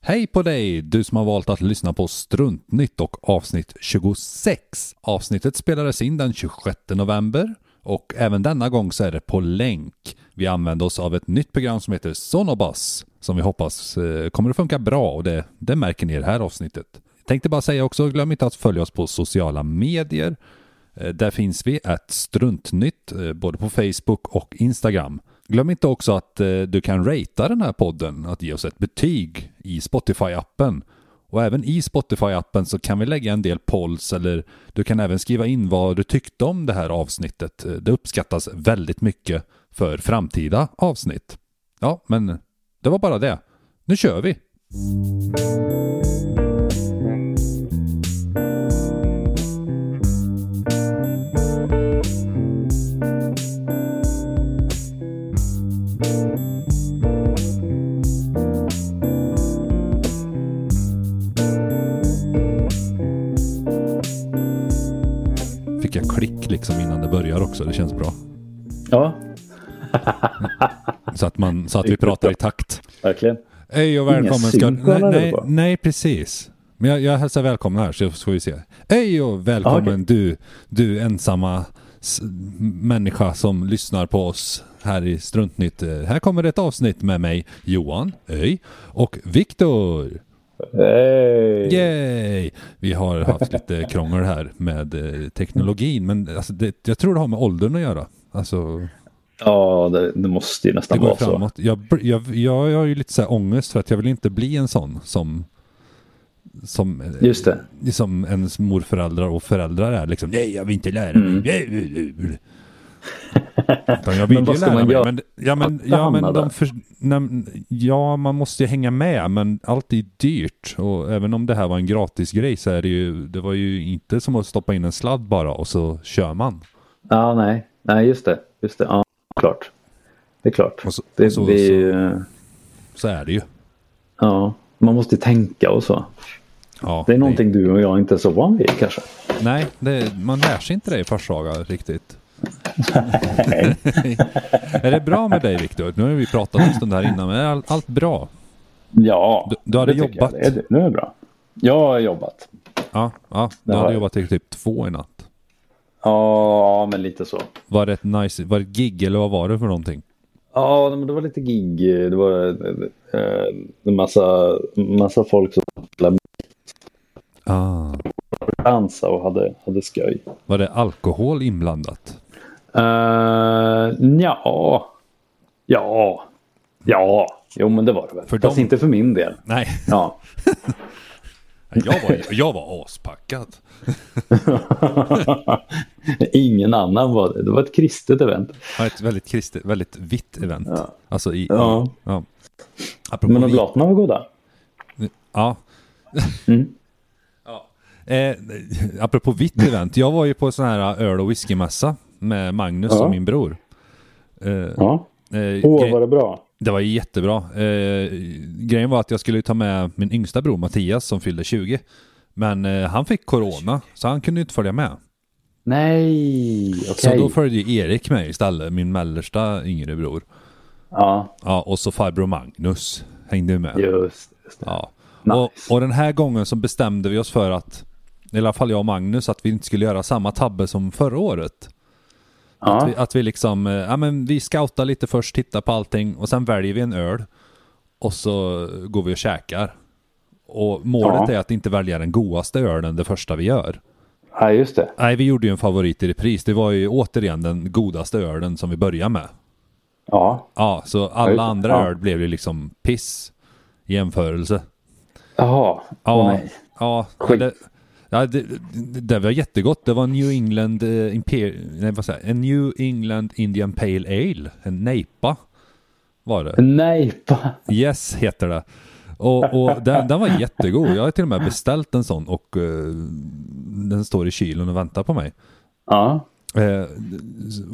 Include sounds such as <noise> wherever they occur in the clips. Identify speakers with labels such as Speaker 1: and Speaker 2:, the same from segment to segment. Speaker 1: Hej på dig, du som har valt att lyssna på Struntnytt och avsnitt 26. Avsnittet spelades in den 26 november och även denna gång så är det på länk. Vi använder oss av ett nytt program som heter Sonobus som vi hoppas eh, kommer att funka bra och det, det märker ni i det här avsnittet. Tänkte bara säga också, glöm inte att följa oss på sociala medier. Eh, Där finns vi, att struntnytt, eh, både på Facebook och Instagram. Glöm inte också att eh, du kan ratea den här podden, att ge oss ett betyg i Spotify-appen. Och även i Spotify-appen så kan vi lägga en del polls eller du kan även skriva in vad du tyckte om det här avsnittet. Eh, Det uppskattas väldigt mycket för framtida avsnitt. Ja, men det var bara det. Nu kör vi! Fick jag klick liksom innan det börjar också, det känns bra.
Speaker 2: Ja,
Speaker 1: Så att, man, så att vi pratar i takt.
Speaker 2: verkligen.
Speaker 1: Hej och välkommen ska...
Speaker 2: synkron
Speaker 1: Nej,
Speaker 2: eller
Speaker 1: nej,
Speaker 2: vad?
Speaker 1: nej, precis. Men jag, jag hälsar välkommen här så får vi se. Hej och välkommen
Speaker 2: Ja, okej.
Speaker 1: du, du ensamma s- människa som lyssnar på oss här i Struntnytt. Eh, Här kommer ett avsnitt med mig, Johan, Öj och Viktor.
Speaker 2: Hej!
Speaker 1: Yay! Vi har haft lite krångel här med eh, teknologin men alltså, det, jag tror det har med åldern att göra. Alltså,
Speaker 2: Ja, det, det måste ju
Speaker 1: Det
Speaker 2: nästan
Speaker 1: går
Speaker 2: vara så.
Speaker 1: framåt. Jag, br- jag, jag, jag har ju lite så här ångest för att jag vill inte bli en sån som som, eh,
Speaker 2: Just det.
Speaker 1: som ens morföräldrar och föräldrar är liksom. Nej, jag vill inte lära mig.
Speaker 2: <laughs>
Speaker 1: Mm. Jag vill
Speaker 2: Men vad
Speaker 1: ju
Speaker 2: ska
Speaker 1: lära
Speaker 2: man
Speaker 1: mig.
Speaker 2: göra?
Speaker 1: Men, ja, men,
Speaker 2: Att
Speaker 1: ja, men
Speaker 2: hamna där.
Speaker 1: de för, nej, ja, man måste ju hänga med, men allt är dyrt. Och även om det här var en gratis grej så är det ju, det var ju inte som att stoppa in en sladd bara och så kör man.
Speaker 2: Ja, nej. Nej, just det. Just det. Ja, klart. Det är klart.
Speaker 1: Och så-
Speaker 2: det,
Speaker 1: och så-
Speaker 2: det är ju-
Speaker 1: Så är det ju.
Speaker 2: Ja, man måste ju tänka och så.
Speaker 1: Ja,
Speaker 2: Det är någonting du och jag inte är så van vid kanske.
Speaker 1: Nej, det, man lär sig inte det i Forshaga riktigt. <laughs> är det bra med dig Viktor? Nu har vi pratat en stund här innan, men är all, allt bra?
Speaker 2: Ja,
Speaker 1: Du- du hade
Speaker 2: det tycker
Speaker 1: jobbat.
Speaker 2: jag. Det är- Nu är det bra. Jag har jobbat.
Speaker 1: Ja, ja du
Speaker 2: Det har
Speaker 1: hade
Speaker 2: jag.
Speaker 1: jobbat till typ två i natt.
Speaker 2: Ja, men lite så.
Speaker 1: Var det ett nice, var det ett gig eller vad var det för någonting?
Speaker 2: Ja, men det var lite gig. Det var eh, en massa, massa folk som
Speaker 1: Ah,
Speaker 2: dansade och hade, hade skoj.
Speaker 1: var det alkohol inblandat?
Speaker 2: Uh, ja. Ja. Ja. Jo, men det var det väl.
Speaker 1: För
Speaker 2: Fast
Speaker 1: dem-
Speaker 2: inte för min del.
Speaker 1: Nej,
Speaker 2: Ja.
Speaker 1: jag var, jag var aspackad.
Speaker 2: Ingen annan var det. Det var ett kristet event.
Speaker 1: Ja, Ett väldigt kristet, väldigt vitt event.
Speaker 2: Ja.
Speaker 1: Alltså i...
Speaker 2: Ja.
Speaker 1: ja. Apropå
Speaker 2: Men
Speaker 1: vitt.
Speaker 2: oblaterna var goda.
Speaker 1: Ja.
Speaker 2: Mm.
Speaker 1: <laughs> ja. Eh, apropå vitt event, jag var ju på sån här öl och whiskymässa med Magnus
Speaker 2: Ja.
Speaker 1: och min bror. Eh, eh,
Speaker 2: Ja. Åh,
Speaker 1: gre-
Speaker 2: var det bra.
Speaker 1: det var jättebra. Eh, grejen var att jag skulle ta med min yngsta bror Mattias som fyllde 20. Men eh, han fick corona, så han kunde ju inte följa med.
Speaker 2: Nej,
Speaker 1: Så
Speaker 2: okej.
Speaker 1: då följde ju Erik med istället, min mellersta yngre bror.
Speaker 2: Ja,
Speaker 1: Ja, och så farbror Magnus hängde ju med.
Speaker 2: just, just det.
Speaker 1: Ja.
Speaker 2: Nice.
Speaker 1: Och, och den här gången så bestämde vi oss för att, i alla fall jag och Magnus, att vi inte skulle göra samma tabbe som förra året. Att,
Speaker 2: Ja,
Speaker 1: vi, att vi liksom, eh, ja men vi scoutar lite först, tittar på allting och sen väljer vi en öl. Och så går vi och käkar. Och målet
Speaker 2: Ja.
Speaker 1: är att inte välja den godaste ölen det första vi gör.
Speaker 2: ja, just det.
Speaker 1: Nej, vi gjorde ju en favorit i repris. Det var ju återigen den godaste ölen som vi började med.
Speaker 2: Ja.
Speaker 1: Ja, så alla
Speaker 2: just det.
Speaker 1: andra
Speaker 2: Ja.
Speaker 1: öl blev ju liksom piss i jämförelse.
Speaker 2: Jaha.
Speaker 1: Ja,
Speaker 2: Åh, nej.
Speaker 1: ja,
Speaker 2: Skit.
Speaker 1: det, ja det, det, det var jättegott. Det var New England eh, Imper, nej, vad säger jag? en New England Indian Pale Ale, en nejpa var det.
Speaker 2: Nej, pa.
Speaker 1: Yes heter det. Och, och den, den var jättegod. Jag har till och med beställt en sån och eh, den står i kylen och väntar på mig.
Speaker 2: Ja,
Speaker 1: Eh,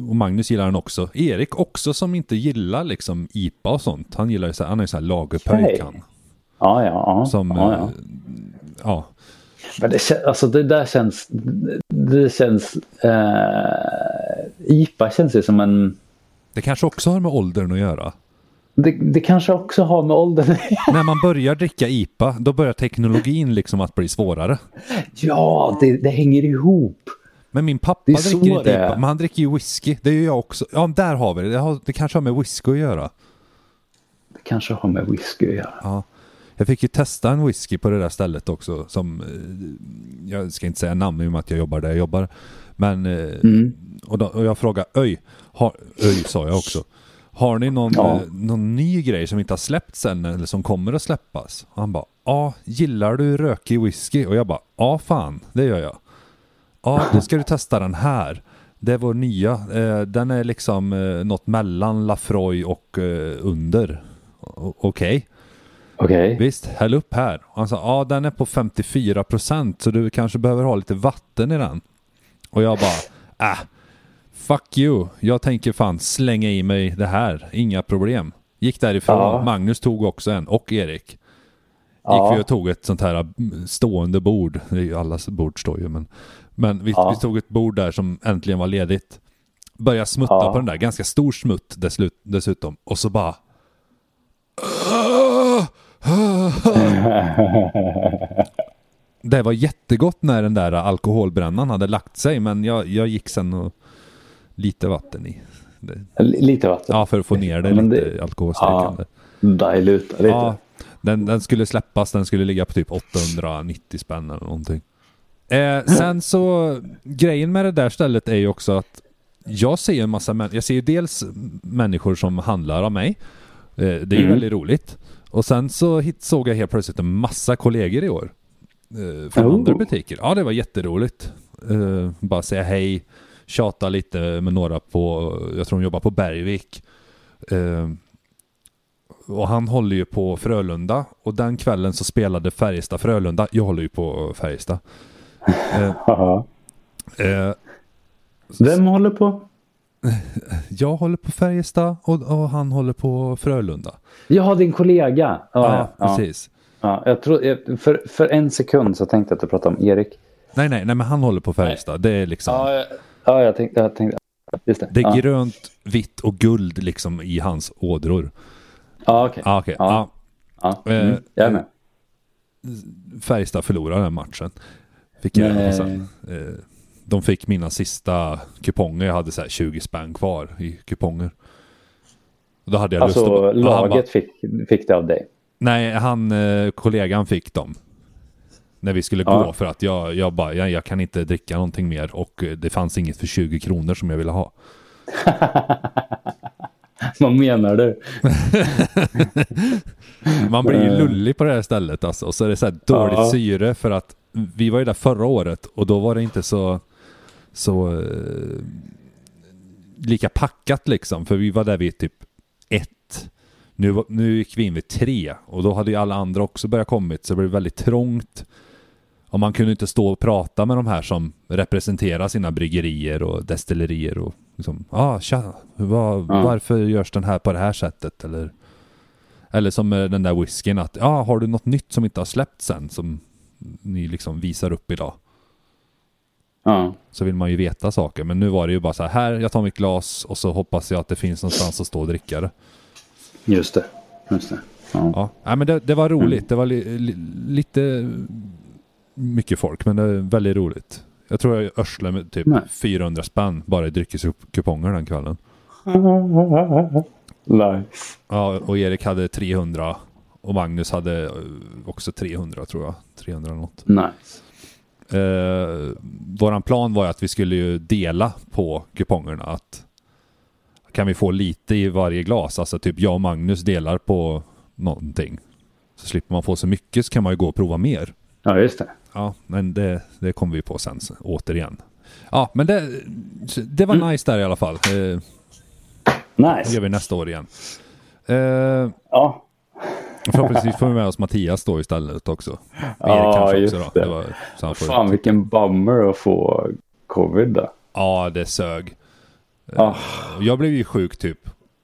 Speaker 1: och Magnus gillar den också. Erik också som inte gillar liksom IPA och sånt. Han gillar ju så här, han är ju så här lagerpöjk
Speaker 2: Okej.
Speaker 1: han.
Speaker 2: ja, ja. ja.
Speaker 1: Som,
Speaker 2: ja,
Speaker 1: eh,
Speaker 2: ja.
Speaker 1: ja.
Speaker 2: Men det, kän- alltså det där känns... Det känns... Eh, IPA känns ju som en...
Speaker 1: Det kanske också har med åldern att göra.
Speaker 2: Det, det kanske också har med åldern <laughs>
Speaker 1: När man börjar dricka IPA, då börjar teknologin liksom att bli svårare.
Speaker 2: Ja, det, det hänger ihop.
Speaker 1: Men min pappa
Speaker 2: Det är så
Speaker 1: dricker inte
Speaker 2: det är.
Speaker 1: IPA, men han dricker ju whisky. Det är ju jag också. Ja, där har vi det. Det, har, det kanske har med whisky att göra.
Speaker 2: Det kanske har med whisky att göra.
Speaker 1: Jag fick ju testa en whisky på det där stället också som, eh, jag ska inte säga namn i och med att jag jobbar där jag jobbar. Men, eh, och, då, och jag frågade öj, har, öj sa jag också. Har ni någon,
Speaker 2: Ja.
Speaker 1: eh, någon ny grej som inte har släppts än eller som kommer att släppas? Och han bara, ja, gillar du rökig whisky? Och jag bara, ja fan, det gör jag. Ja, då ska du testa den här. Det är vår nya. Eh, den är liksom eh, något mellan Lafroy och eh, under. O- Okej.
Speaker 2: Okej.
Speaker 1: Visst, häll upp här. Och han sa, ja den är på 54% så du kanske behöver ha lite vatten i den. Och jag bara, äh, fuck you. Jag tänker fan slänga i mig det här, inga problem. Gick därifrån,
Speaker 2: Ja.
Speaker 1: Magnus tog också en och Erik. Gick
Speaker 2: Ja.
Speaker 1: vi och tog ett sånt här mm, stående bord, Det är ju- allas bord står ju men. Men vi,
Speaker 2: Ja.
Speaker 1: vi tog ett bord där som äntligen var ledigt. Började smutta
Speaker 2: Ja.
Speaker 1: på den där, ganska stor smutt desslut- dessutom. Och så bara Det var jättegott när den där alkoholbrännan hade lagt sig men jag, jag gick sen och lite vatten i. Det,
Speaker 2: L- Lite vatten.
Speaker 1: ja, för att få ner det
Speaker 2: Ja, men
Speaker 1: lite
Speaker 2: det-
Speaker 1: alkoholstärkande.
Speaker 2: Diluta lite.
Speaker 1: Ja, den, den skulle släppas, den skulle ligga på typ 890 spänn eller någonting. Eh,
Speaker 2: <laughs>
Speaker 1: sen så, grejen med det där stället är ju också att jag ser en massa människor, jag ser ju dels människor som handlar av mig, eh, det är ju
Speaker 2: Mm.
Speaker 1: väldigt roligt. Och sen så hit, såg jag helt plötsligt en massa kollegor i år. Eh, från
Speaker 2: Oh.
Speaker 1: andra butiker. Ja, det var jätteroligt. Eh, bara säga hej, tjata lite med några på, jag tror de jobbar på Bergvik. Eh, och han håller ju på Frölunda och den kvällen så spelade Färjestad Frölunda. Jag håller ju på Färjestad.
Speaker 2: Jaha.
Speaker 1: Eh,
Speaker 2: Vem håller på?
Speaker 1: jag håller på Färjestad och, och han håller på Frölunda.
Speaker 2: Ja, din kollega. Ja,
Speaker 1: ja,
Speaker 2: ja.
Speaker 1: precis.
Speaker 2: Ja, jag tror, jag- för, för en sekund så tänkte jag att du pratade om Erik.
Speaker 1: Nej, nej, nej, men han håller på Färjestad. Det är liksom.
Speaker 2: Ja, jag, ja, jag, tänkte, jag tänkte... Just det.
Speaker 1: Det är
Speaker 2: ja.
Speaker 1: grönt, vitt och guld liksom i hans ådror.
Speaker 2: Ja, okej.
Speaker 1: Ah, okay.
Speaker 2: Ja. Ja.
Speaker 1: eh,
Speaker 2: Mm. Jag är med.
Speaker 1: Färjestad förlorade den matchen. Fick jag
Speaker 2: Nej.
Speaker 1: reda på sen. Eh, de fick mina sista kuponger. Jag hade så här 20 spänn kvar i kuponger. Och Då hade jag lust
Speaker 2: Alltså,
Speaker 1: att... och han bara-
Speaker 2: laget fick, fick det av dig. <laughs>
Speaker 1: Nej, han, eh, kollegan fick dem. När vi skulle
Speaker 2: Ja.
Speaker 1: gå för att jag, jag bara, jag, jag kan inte dricka någonting mer och eh, det fanns inget för 20 kronor som jag ville ha.
Speaker 2: Vad menar du?
Speaker 1: Man blir ju lullig på det här stället alltså. Och så är det så här dåligt
Speaker 2: Ja.
Speaker 1: syre för att vi var ju där förra året och då var det inte så, så eh, lika packat liksom. För vi var där vid typ ett. Nu, var- nu gick vi in vid tre och då hade ju alla andra också börjat kommit så det blev väldigt trångt. Och man kunde inte stå och prata med de här som representerar sina bryggerier och destillerier och liksom, ah, tja, vad, varför görs den här på det här sättet eller eller som eh, den där whiskyn att ja, har du något nytt som inte har släppts än som ni liksom visar upp idag?
Speaker 2: Ja.
Speaker 1: Så vill man ju veta saker. Men nu var det ju bara så här, här jag tar mitt glas och så hoppas jag att det finns någonstans att stå och dricka det.
Speaker 2: Just det. Just det. Ja.
Speaker 1: Ja, Nej, men det, det var roligt. Det var li, li, lite mycket folk, men det är väldigt roligt. Jag tror jag örslade med typ
Speaker 2: Nej.
Speaker 1: 400 spänn bara i dryckeskuponger den kvällen.
Speaker 2: Nice.
Speaker 1: Ja, och Erik hade 300 och Magnus hade eh, också 300 tror jag. 300 något.
Speaker 2: Nice.
Speaker 1: Eh, våran plan var ju att vi skulle ju dela på kupongerna. Att kan vi få lite i varje glas? Alltså typ jag och Magnus delar på någonting. Så slipper man få så mycket så kan man ju gå och prova mer.
Speaker 2: Ja, just det.
Speaker 1: Ja, men det, det kommer vi på sen så- återigen. Ja, men det, det var
Speaker 2: Mm.
Speaker 1: nice där i alla fall. Eh, det gör
Speaker 2: Nice.
Speaker 1: vi nästa år igen. Eh,
Speaker 2: Ja.
Speaker 1: förhoppningsvis får vi med oss Mattias då istället också. Och Erik
Speaker 2: Ja, just
Speaker 1: då.
Speaker 2: det.
Speaker 1: Det var, så han får,
Speaker 2: Fan, vilken bummer att få covid då.
Speaker 1: Ja, det sög.
Speaker 2: Ja.
Speaker 1: Och Jag blev ju sjuk typ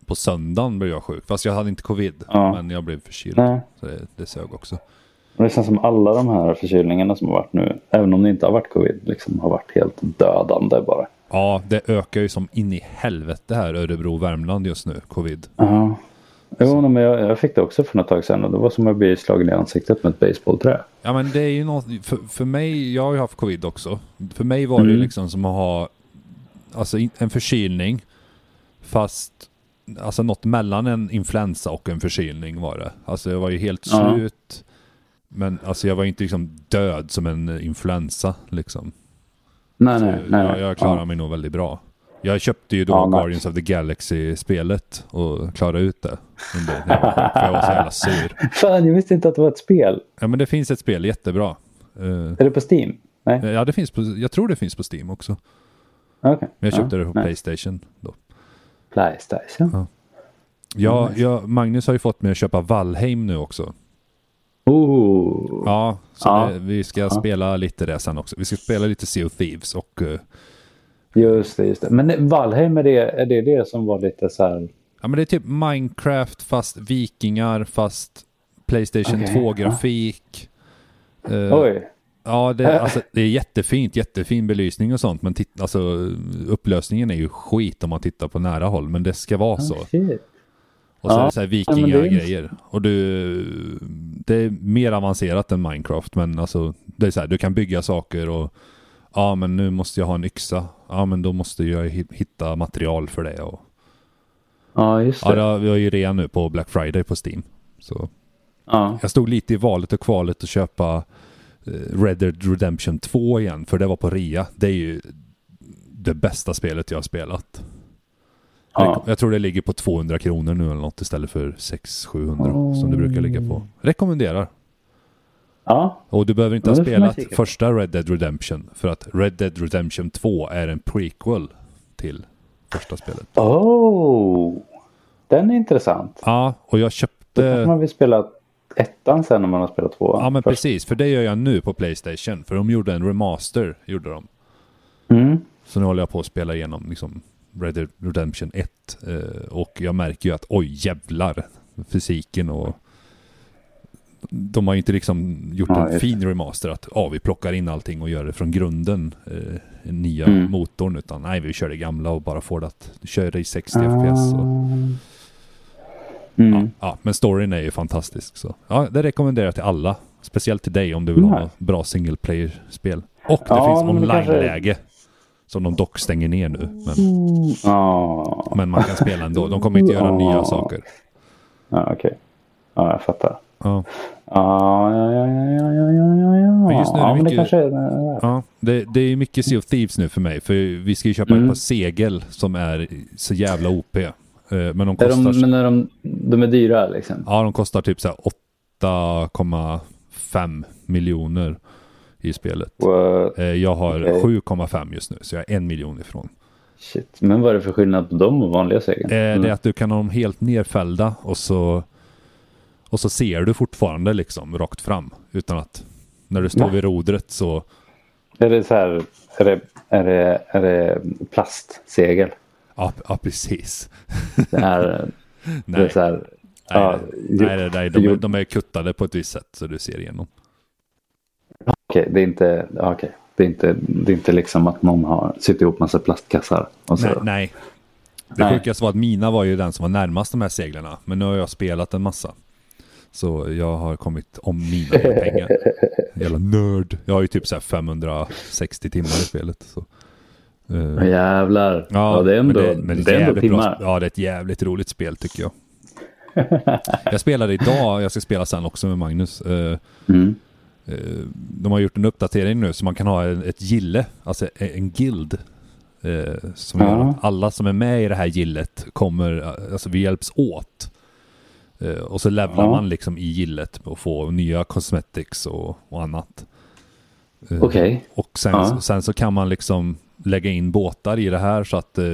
Speaker 1: på söndagen blev jag sjuk. Fast jag hade inte covid.
Speaker 2: Ja.
Speaker 1: Men jag blev förkyld.
Speaker 2: Nej.
Speaker 1: Så det, det sög också.
Speaker 2: Det känns som alla de här förkylningarna som har varit nu, även om det inte har varit covid, liksom har varit helt dödande bara.
Speaker 1: Ja, det ökar ju som in i helvete här Örebro, Värmland just nu, covid.
Speaker 2: Ja. Jo, men jag, jag fick det också för något tag sedan och det var som att bli slagen i ansiktet med ett baseballträ.
Speaker 1: Ja men det är ju något, för, för mig, jag har ju haft covid också. För mig var det ju
Speaker 2: Mm.
Speaker 1: liksom som att ha alltså, in- en förkylning fast alltså något mellan en influensa och en förkylning var det. Alltså jag var ju helt
Speaker 2: Ja.
Speaker 1: slut. Men alltså jag var inte liksom död som en eh, influensa liksom.
Speaker 2: Nej, nej, nej.
Speaker 1: jag, jag klarade
Speaker 2: ja.
Speaker 1: mig nog väldigt bra. Jag köpte ju då
Speaker 2: Ja, nice.
Speaker 1: Guardians of the Galaxy-spelet och klarade ut det. Under, <laughs> för jag var så jävla sur.
Speaker 2: Fan, jag visste inte att det var ett spel.
Speaker 1: Ja men det finns ett spel, jättebra. Eh,
Speaker 2: Är det på Steam? Nej,
Speaker 1: Ja, det finns på, jag tror det finns på Steam också.
Speaker 2: okej.
Speaker 1: Men jag köpte
Speaker 2: ja,
Speaker 1: det på
Speaker 2: nej.
Speaker 1: Playstation. Då.
Speaker 2: Playstation.
Speaker 1: Jag, jag, Magnus har ju fått mig att köpa Valheim nu också.
Speaker 2: Oh.
Speaker 1: Ja, så
Speaker 2: Ja.
Speaker 1: Det, vi ska spela lite det sen också. Vi ska spela lite Sea of Thieves och... eh,
Speaker 2: Just det, just det. Men Valheim, är det, är det det som var lite så här...
Speaker 1: ja, men det är typ Minecraft fast vikingar fast Playstation
Speaker 2: Okej,
Speaker 1: 2-grafik.
Speaker 2: Oj.
Speaker 1: Ja, det, alltså, det är jättefint, jättefin belysning och sånt. Men titt, alltså, upplösningen är ju skit om man tittar på nära håll. Men det ska vara så.
Speaker 2: Shit.
Speaker 1: Och så
Speaker 2: Ja,
Speaker 1: är det så här
Speaker 2: men det är-
Speaker 1: vikingagrejer. Och du, det är mer avancerat än Minecraft. Men alltså, det är så här, du kan bygga saker och ja men nu måste jag ha en yxa. Ja men då måste jag hi- hitta material för det. Och,
Speaker 2: Ja, just
Speaker 1: ja,
Speaker 2: det.
Speaker 1: det
Speaker 2: Ja,
Speaker 1: har- vi har ju rea nu på Black Friday på Steam. Så jag stod lite i valet och kvalet att köpa eh, Red Dead Redemption 2 igen. För det var på rea. Det är ju det bästa spelet jag har spelat.
Speaker 2: ja.
Speaker 1: Jag tror det ligger på 200 kronor nu eller något istället för 600-700 som det brukar ligga på. Rekommenderar.
Speaker 2: ja.
Speaker 1: Och du behöver inte
Speaker 2: Ja,
Speaker 1: ha
Speaker 2: det får man
Speaker 1: spelat
Speaker 2: kika på.
Speaker 1: första Red Dead Redemption för att Red Dead Redemption 2 är en prequel till första spelet.
Speaker 2: Oh. Den är intressant.
Speaker 1: Ja, och jag
Speaker 2: Kanske
Speaker 1: köpte...
Speaker 2: man vill spela ettan sen när man har spelat tvåan.
Speaker 1: Ja men
Speaker 2: först.
Speaker 1: precis, för det gör jag nu på Playstation. För de gjorde en remaster, gjorde de.
Speaker 2: Mm.
Speaker 1: Så nu håller jag på att spela igenom liksom Red Dead Redemption 1. eh, Och jag märker ju att oj jävlar, fysiken och... De har ju inte liksom gjort
Speaker 2: Ja,
Speaker 1: en
Speaker 2: just
Speaker 1: fin remaster att ja, vi plockar in allting och gör det från grunden. eh, Nya
Speaker 2: Mm.
Speaker 1: motorn utan nej, vi kör det gamla och bara får det att du kör det i 60
Speaker 2: Ah.
Speaker 1: FPS. Och,
Speaker 2: Mm.
Speaker 1: ja, men storyn är ju fantastisk. Så. Ja, det rekommenderar jag till alla. Speciellt till dig om du vill ha
Speaker 2: Nej.
Speaker 1: något bra single player-spel. Och det
Speaker 2: Mm. Ja,
Speaker 1: finns
Speaker 2: men det kanske- Mm.
Speaker 1: online-läge. Som de dock stänger ner nu. Men...
Speaker 2: Ja,
Speaker 1: Men man kan spela ändå. De kommer inte göra nya
Speaker 2: Ja.
Speaker 1: saker.
Speaker 2: ja okej. Ja, jag fattar.
Speaker 1: Ja.
Speaker 2: Ja, ja, ja, ja, ja, ja, ja, ja.
Speaker 1: Men just nu är det
Speaker 2: ja, men det
Speaker 1: mycket-
Speaker 2: kanske är det.
Speaker 1: Ja, det, det är mycket Sea of Thieves nu för mig. För vi ska ju köpa
Speaker 2: Mm.
Speaker 1: ett par segel som är så jävla OP. Eh, Men de
Speaker 2: Är
Speaker 1: kostar,
Speaker 2: de, men är de, de är dyra liksom?
Speaker 1: ja, de kostar typ så här 8,5 miljoner i spelet.
Speaker 2: Wow,
Speaker 1: Eh, Jag har
Speaker 2: Okej.
Speaker 1: 7,5 just nu, så jag är en miljon ifrån.
Speaker 2: shit. Men vad är det för skillnad på dem och vanliga segel? Mm.
Speaker 1: Eh, Det är att du kan ha dem helt nerfällda och så, och så ser du fortfarande liksom rakt fram. Utan att när du står vid rodret så
Speaker 2: Är det så här, är det, är det, är det plastsegel?
Speaker 1: Ja, p- ja precis.
Speaker 2: Det är,
Speaker 1: <laughs>
Speaker 2: det är
Speaker 1: Nej,
Speaker 2: så här,
Speaker 1: nej,
Speaker 2: ja,
Speaker 1: nej, nej, nej de, är,
Speaker 2: jo.
Speaker 1: de är kuttade på ett visst sätt så du ser igenom.
Speaker 2: okej, det är inte, ja, okej. Det är, inte, det är inte liksom att någon har suttit ihop massa plastkassar. Och så.
Speaker 1: Nej, nej. Det
Speaker 2: Nej.
Speaker 1: sjukaste var att mina var ju den som var närmast de här seglarna. Men nu har jag spelat en massa. Så jag har kommit om mina med
Speaker 2: <laughs>
Speaker 1: pengar. Jävla nörd. Jag har ju typ så här 560 timmar i spelet. Så. Eh,
Speaker 2: Men Jävlar. Ja, det är
Speaker 1: men
Speaker 2: ändå, det,
Speaker 1: men
Speaker 2: är ändå
Speaker 1: jävligt bra
Speaker 2: timmar.
Speaker 1: sp- ja, det är ett jävligt roligt spel tycker jag. jag spelade idag, jag ska spela sen också med Magnus. Eh,
Speaker 2: Mm.
Speaker 1: eh, de har gjort en uppdatering nu så man kan ha en- ett gille, alltså e- en guild. eh, Som
Speaker 2: Ja.
Speaker 1: gör att alla som är med i det här gillet kommer, eh, alltså vi hjälps åt. Eh, Och så levlar
Speaker 2: Ja.
Speaker 1: man liksom i gillet och får nya cosmetics och, och annat. Eh,
Speaker 2: Okej.
Speaker 1: och sen,
Speaker 2: Ja.
Speaker 1: sen så kan man liksom lägga in båtar i det här så att eh,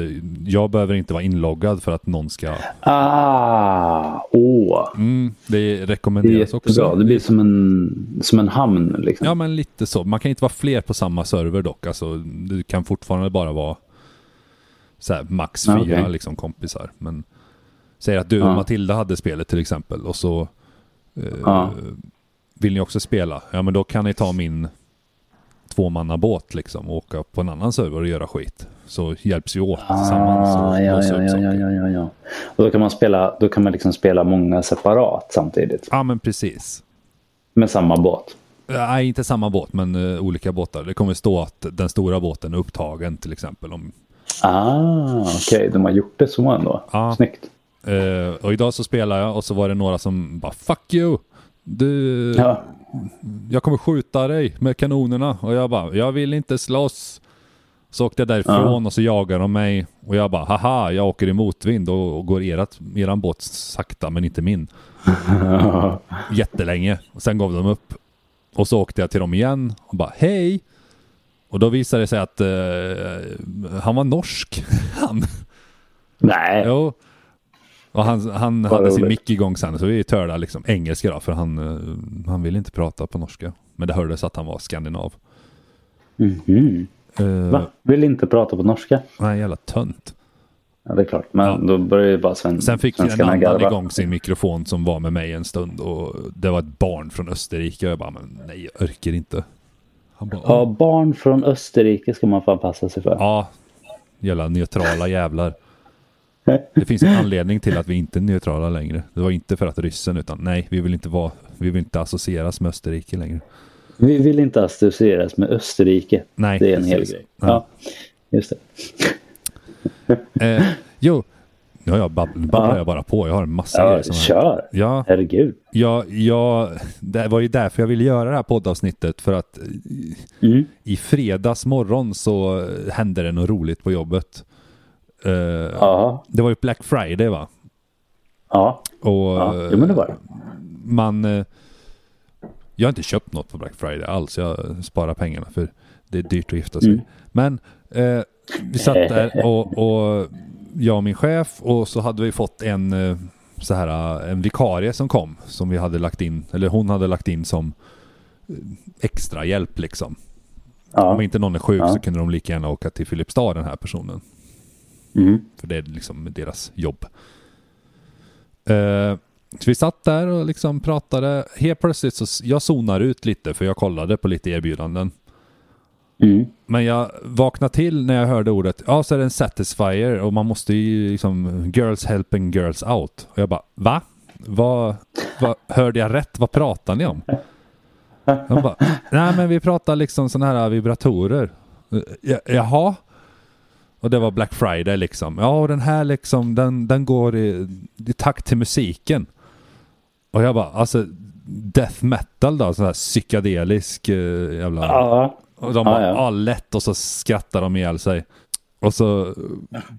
Speaker 1: jag behöver inte vara inloggad för att någon ska...
Speaker 2: Ah, åh.
Speaker 1: Mm, det
Speaker 2: Det är
Speaker 1: rekommenderas
Speaker 2: jättebra.
Speaker 1: också.
Speaker 2: Det blir som en, som en hamn liksom.
Speaker 1: Ja men lite så. Man kan inte vara fler på samma server dock. Alltså, du kan fortfarande bara vara så här, max
Speaker 2: Ja,
Speaker 1: fyra
Speaker 2: okej.
Speaker 1: liksom, kompisar. Men säg att du och
Speaker 2: Ja.
Speaker 1: Matilda hade spelet till exempel och så eh,
Speaker 2: Ja.
Speaker 1: vill ni också spela. Ja men då kan ni ta min tvåmannabåt liksom och åka på en annan server och göra skit. Så hjälps vi åt tillsammans och
Speaker 2: Ah, ja,
Speaker 1: lösa
Speaker 2: ja,
Speaker 1: upp
Speaker 2: ja,
Speaker 1: saker.
Speaker 2: ja, ja, ja, ja. Och då kan man spela, då kan man liksom spela många separat samtidigt.
Speaker 1: Ja, men precis.
Speaker 2: Med samma båt.
Speaker 1: Nej, inte samma båt, men eh, olika båtar. Det kommer stå att den stora båten är upptagen till exempel. Om,
Speaker 2: Ah, okej. De har gjort det så ändå.
Speaker 1: Ja.
Speaker 2: Snyggt.
Speaker 1: eh, och idag så spelar jag och så var det några som bara Fuck you! Du,
Speaker 2: Ja.
Speaker 1: jag kommer skjuta dig med kanonerna. Och jag bara, jag vill inte slåss. Så åkte jag därifrån och så jagade de mig. Och jag bara, haha, jag åker i motvind och, och går erat, eran båt sakta men inte min. Jättelänge. Och sen gav de upp. Och så åkte jag till dem igen och bara, hej! Och då visade det sig att eh, han var norsk. <laughs> Han.
Speaker 2: Nej.
Speaker 1: Jo. Och han, han
Speaker 2: Vad
Speaker 1: hade sin
Speaker 2: roligt.
Speaker 1: mick igång sen, så vi törda liksom engelska då, för han, eh, han ville inte prata på norska. Men det hördes att han var skandinav.
Speaker 2: Mhm.
Speaker 1: Eh,
Speaker 2: Va? Vill inte prata på norska?
Speaker 1: nej, jävla tönt.
Speaker 2: Ja, det är klart. Men då börjar ju bara sven-
Speaker 1: Sen fick en
Speaker 2: svenskarna
Speaker 1: annan
Speaker 2: garva.
Speaker 1: igång sin mikrofon som var med mig en stund och det var ett barn från Österrike och jag bara, men nej, jag orkar inte. Han bara,
Speaker 2: Ja, barn från Österrike ska man fan passa sig för.
Speaker 1: ja, jävla neutrala jävlar. Det finns en anledning till att vi inte är neutrala längre. Det var inte för att ryssen, utan nej, vi vill inte vara, vi vill inte associeras med Österrike längre.
Speaker 2: Vi vill inte associeras med Österrike.
Speaker 1: Nej,
Speaker 2: det är en hel
Speaker 1: precis.
Speaker 2: grej.
Speaker 1: Ja.
Speaker 2: Ja. just det. <laughs>
Speaker 1: Eh, jo, nu har jag babbl- babblar jag bara på. Jag har en massa
Speaker 2: Ja,
Speaker 1: grejer som har-
Speaker 2: kör!
Speaker 1: Ja,
Speaker 2: Herregud.
Speaker 1: ja, ja, det var ju därför jag ville göra det här poddavsnittet. För att eh,
Speaker 2: Mm.
Speaker 1: i fredags morgon så eh, hände det något roligt på jobbet. Eh,
Speaker 2: Ja,
Speaker 1: Det var ju Black Friday va?
Speaker 2: ja,
Speaker 1: Och
Speaker 2: ja.
Speaker 1: eh,
Speaker 2: Jo, men det var det.
Speaker 1: man... eh, Jag har inte köpt något på Black Friday alls. Jag sparar pengarna för det är dyrt att gifta sig. Men eh, vi satt där och, och jag och min chef och så hade vi fått en eh, så här eh, en vikarie som kom som vi hade lagt in eller hon hade lagt in som eh, extra hjälp liksom. Om
Speaker 2: Ja.
Speaker 1: inte någon är sjuk
Speaker 2: Ja.
Speaker 1: så kunde de lika gärna åka till Filipstad den här personen.
Speaker 2: Mm.
Speaker 1: För det är liksom deras jobb. Eh, så vi satt där och liksom pratade. Helt plötsligt så s- jag zonar ut lite för jag kollade på lite erbjudanden.
Speaker 2: Mm.
Speaker 1: Men jag vaknade till när jag hörde ordet ja så är det en satisfier och man måste ju liksom girls helping girls out. Och jag bara va? Vad, vad hörde jag rätt? Vad pratar ni om? De bara nej men vi pratar liksom sådana här vibratorer. Ja, jaha? Och det var Black Friday liksom. Ja och den här liksom den, den går i, i takt till musiken. Och jag bara alltså death metal då, sån här psykedelisk eh, jävla...
Speaker 2: Ja.
Speaker 1: Och de bara,
Speaker 2: Ja, ja.
Speaker 1: ah, lätt och så skrattar de ihjäl sig. Och så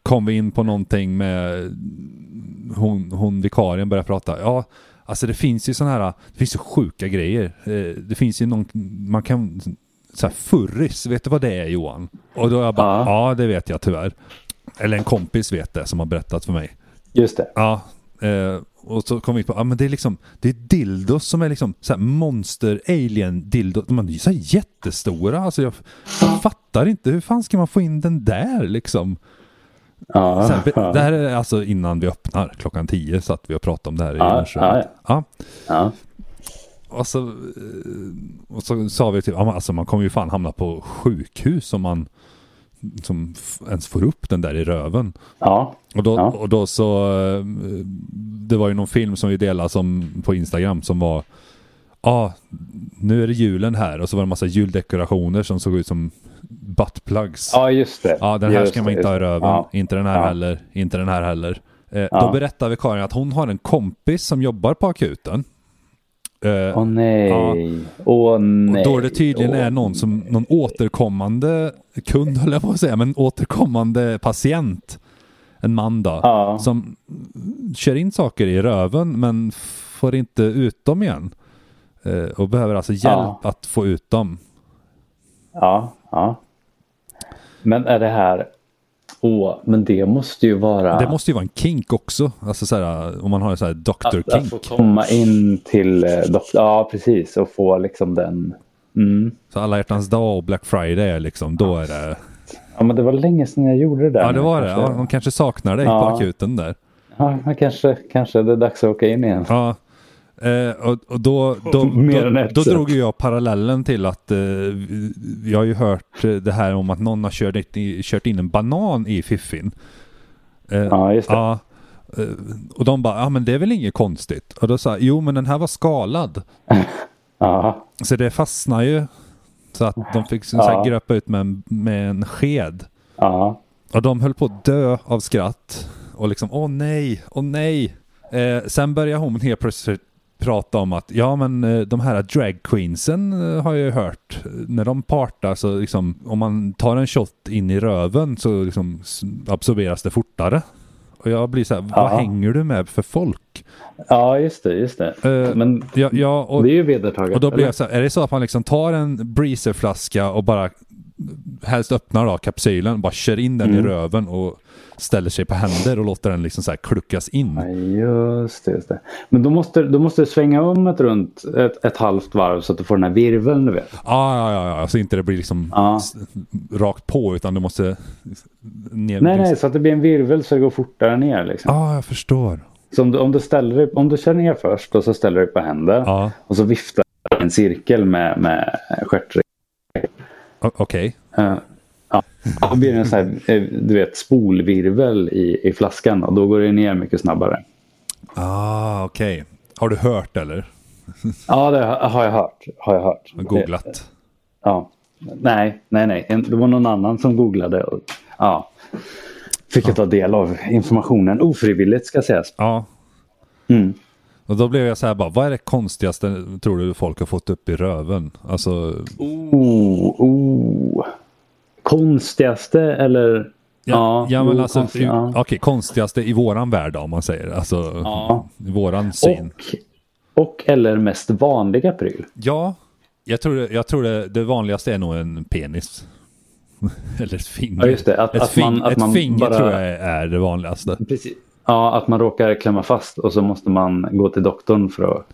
Speaker 1: kom vi in på någonting med hon, hon vikarien började prata. Ja, alltså det finns ju sådana här, det finns ju sjuka grejer. Eh, Det finns ju någon, man kan, så här furris, vet du vad det är Johan? Och då jag bara, ja det vet jag tyvärr. Eller en kompis vet det som har berättat för mig.
Speaker 2: just det.
Speaker 1: Ja, eh, och så kom vi in på, ja men det är liksom, det är dildos som är liksom så här monster alien dildos, de är ju så här jättestora, alltså jag, jag fattar inte, hur fan ska man få in den där liksom? Så
Speaker 2: Ja.
Speaker 1: här, be- det här är alltså innan vi öppnar klockan 10 så att vi har pratat om det här i
Speaker 2: Ja,
Speaker 1: lunchrummet. Ja,
Speaker 2: Ja.
Speaker 1: och så, eh, och så sa vi till, ja, men alltså man kommer ju fan hamna på sjukhus om man som f- ens får upp den där i röven.
Speaker 2: ja.
Speaker 1: Och då,
Speaker 2: Ja.
Speaker 1: och då så, eh, det var ju någon film som vi delade som, på Instagram som var, ja, ah, nu är det julen här och så var det en massa juldekorationer som såg ut som buttplugs. Ja,
Speaker 2: Ja, just det.
Speaker 1: den här
Speaker 2: Just
Speaker 1: ska
Speaker 2: det,
Speaker 1: man inte
Speaker 2: just
Speaker 1: ha i
Speaker 2: det.
Speaker 1: röven,
Speaker 2: Ja.
Speaker 1: inte den här
Speaker 2: Ja.
Speaker 1: heller, inte den här heller. Eh, Då
Speaker 2: Ja.
Speaker 1: berättar vikarien att hon har en kompis som jobbar på akuten. Eh,
Speaker 2: Åh nej.
Speaker 1: Ja.
Speaker 2: Åh nej.
Speaker 1: då det tydligen
Speaker 2: Åh.
Speaker 1: är någon som, någon återkommande kund höll jag på att säga, men återkommande patient. En man då.
Speaker 2: Ja.
Speaker 1: Som kör in saker i röven men får inte ut dem igen. Eh, och behöver alltså hjälp
Speaker 2: Ja.
Speaker 1: att få ut dem.
Speaker 2: Ja, ja. Men är det här... Åh, men det måste ju vara...
Speaker 1: Det måste ju vara en kink också. Alltså så här, om man har en sån här doctor
Speaker 2: att, att
Speaker 1: kink.
Speaker 2: få komma in till eh, doktorn. Ja, precis. Och få liksom den... Mm.
Speaker 1: Så alla hjärtans dag och Black Friday är liksom, då är det...
Speaker 2: Ja, men det var länge sedan jag gjorde det där.
Speaker 1: Ja det var det. Ja,
Speaker 2: Kanske,
Speaker 1: de kanske saknar dig på
Speaker 2: Ja.
Speaker 1: akuten där.
Speaker 2: ja, men kanske, kanske det är dags att åka in igen.
Speaker 1: Ja. Eh, och, och då, då,
Speaker 2: <laughs> Mer än
Speaker 1: då,
Speaker 2: ett
Speaker 1: då
Speaker 2: sätt.
Speaker 1: drog ju jag parallellen till att eh, vi har ju hört eh, det här om att någon har kört in, kört in en banan i fiffin. Eh,
Speaker 2: Ja, just det.
Speaker 1: ja, eh, och de bara, ja ah, men det är väl inget konstigt. Och då sa jag, jo men den här var skalad.
Speaker 2: Ja.
Speaker 1: Så det fastnar ju. Så att de fick så här,
Speaker 2: Ja.
Speaker 1: gröpa ut med en, med en sked.
Speaker 2: Ja.
Speaker 1: Och de höll på att dö av skratt. Och liksom, åh nej, åh nej. Eh, sen började hon helt plötsligt prata om att, ja men eh, de här dragqueensen eh, har jag ju hört. Eh, När de partar så liksom, om man tar en shot in i röven så liksom s- absorberas det fortare. Och jag blir så här, vad
Speaker 2: Ja.
Speaker 1: hänger du med för folk?
Speaker 2: ja, just det. Just det.
Speaker 1: Eh,
Speaker 2: Men
Speaker 1: Ja, ja, och,
Speaker 2: det är ju vedertaget.
Speaker 1: och då blir
Speaker 2: eller?
Speaker 1: jag så här, är det så att man liksom tar en breezerflaska och bara helst öppnar då kapsylen, bara kör in
Speaker 2: Mm.
Speaker 1: den i röven och ställer sig på händer och låter den liksom så här kluckas in.
Speaker 2: Ja, Just det, just det. Men då måste, då måste du svänga om ett runt ett, ett halvt varv så att du får den här virveln du vet.
Speaker 1: Ja, Ah, ja, ja, ja, så inte det blir liksom
Speaker 2: Ja.
Speaker 1: s- rakt på utan du måste ner.
Speaker 2: Nej, nej, så att det blir en virvel så det går fortare ner liksom.
Speaker 1: Ja, jag förstår.
Speaker 2: Så om du, om du ställer dig, om du kör ner först och så ställer du dig på händer
Speaker 1: Ja,
Speaker 2: och så viftar du i en cirkel med, med stjärtring.
Speaker 1: o- okej.
Speaker 2: Eh, Ja, då blir det en sån här, eh, du vet, spolvirvel i, i flaskan och då går det ner mycket snabbare.
Speaker 1: Ah, okej. Har du hört eller?
Speaker 2: Ja, det har har jag hört. Har jag hört.
Speaker 1: Googlat?
Speaker 2: Ja. Nej, nej, nej. En- Det var någon annan som googlade. Och, ja. Fick jag ta del av informationen ofrivilligt ska sägas.
Speaker 1: Ja.
Speaker 2: Mm.
Speaker 1: Och då blev jag så här bara, vad är det konstigaste tror du folk har fått upp i röven? Alltså,
Speaker 2: Oh, oh. Konstigaste eller?
Speaker 1: Ja, ja, men
Speaker 2: oh,
Speaker 1: alltså,
Speaker 2: konstigt, ja.
Speaker 1: okej, konstigaste i våran värld då, om man säger. Alltså,
Speaker 2: Ja.
Speaker 1: i våran syn.
Speaker 2: Och, och eller mest vanliga pryl.
Speaker 1: Ja, jag tror, det- jag tror det, det vanligaste är nog en penis. <laughs> Eller ett finger.
Speaker 2: Ja, just det, att-
Speaker 1: ett
Speaker 2: att man-
Speaker 1: fing-
Speaker 2: att
Speaker 1: ett
Speaker 2: man
Speaker 1: finger
Speaker 2: bara-
Speaker 1: tror jag är, är det vanligaste.
Speaker 2: Precis. Ja, att man råkar klämma fast och så måste man gå till doktorn för att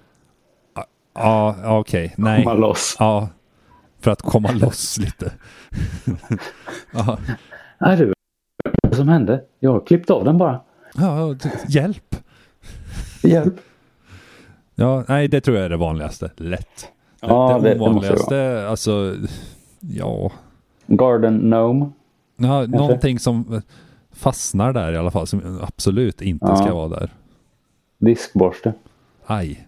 Speaker 1: Ja, ja, okej. Nej.
Speaker 2: komma loss.
Speaker 1: Ja, för att komma loss lite. ja,
Speaker 2: Är du? Vad som hände? Jag har klippt av den bara.
Speaker 1: ja, t- hjälp.
Speaker 2: Hjälp.
Speaker 1: Ja, nej, det tror jag är det vanligaste. Lätt.
Speaker 2: Ja, det, det måste det vara.
Speaker 1: ovanligaste, alltså, ja.
Speaker 2: Garden Gnome.
Speaker 1: Ja, någonting som fastnar där i alla fall, som absolut inte
Speaker 2: Ja.
Speaker 1: ska vara där.
Speaker 2: Diskborste.
Speaker 1: Aj.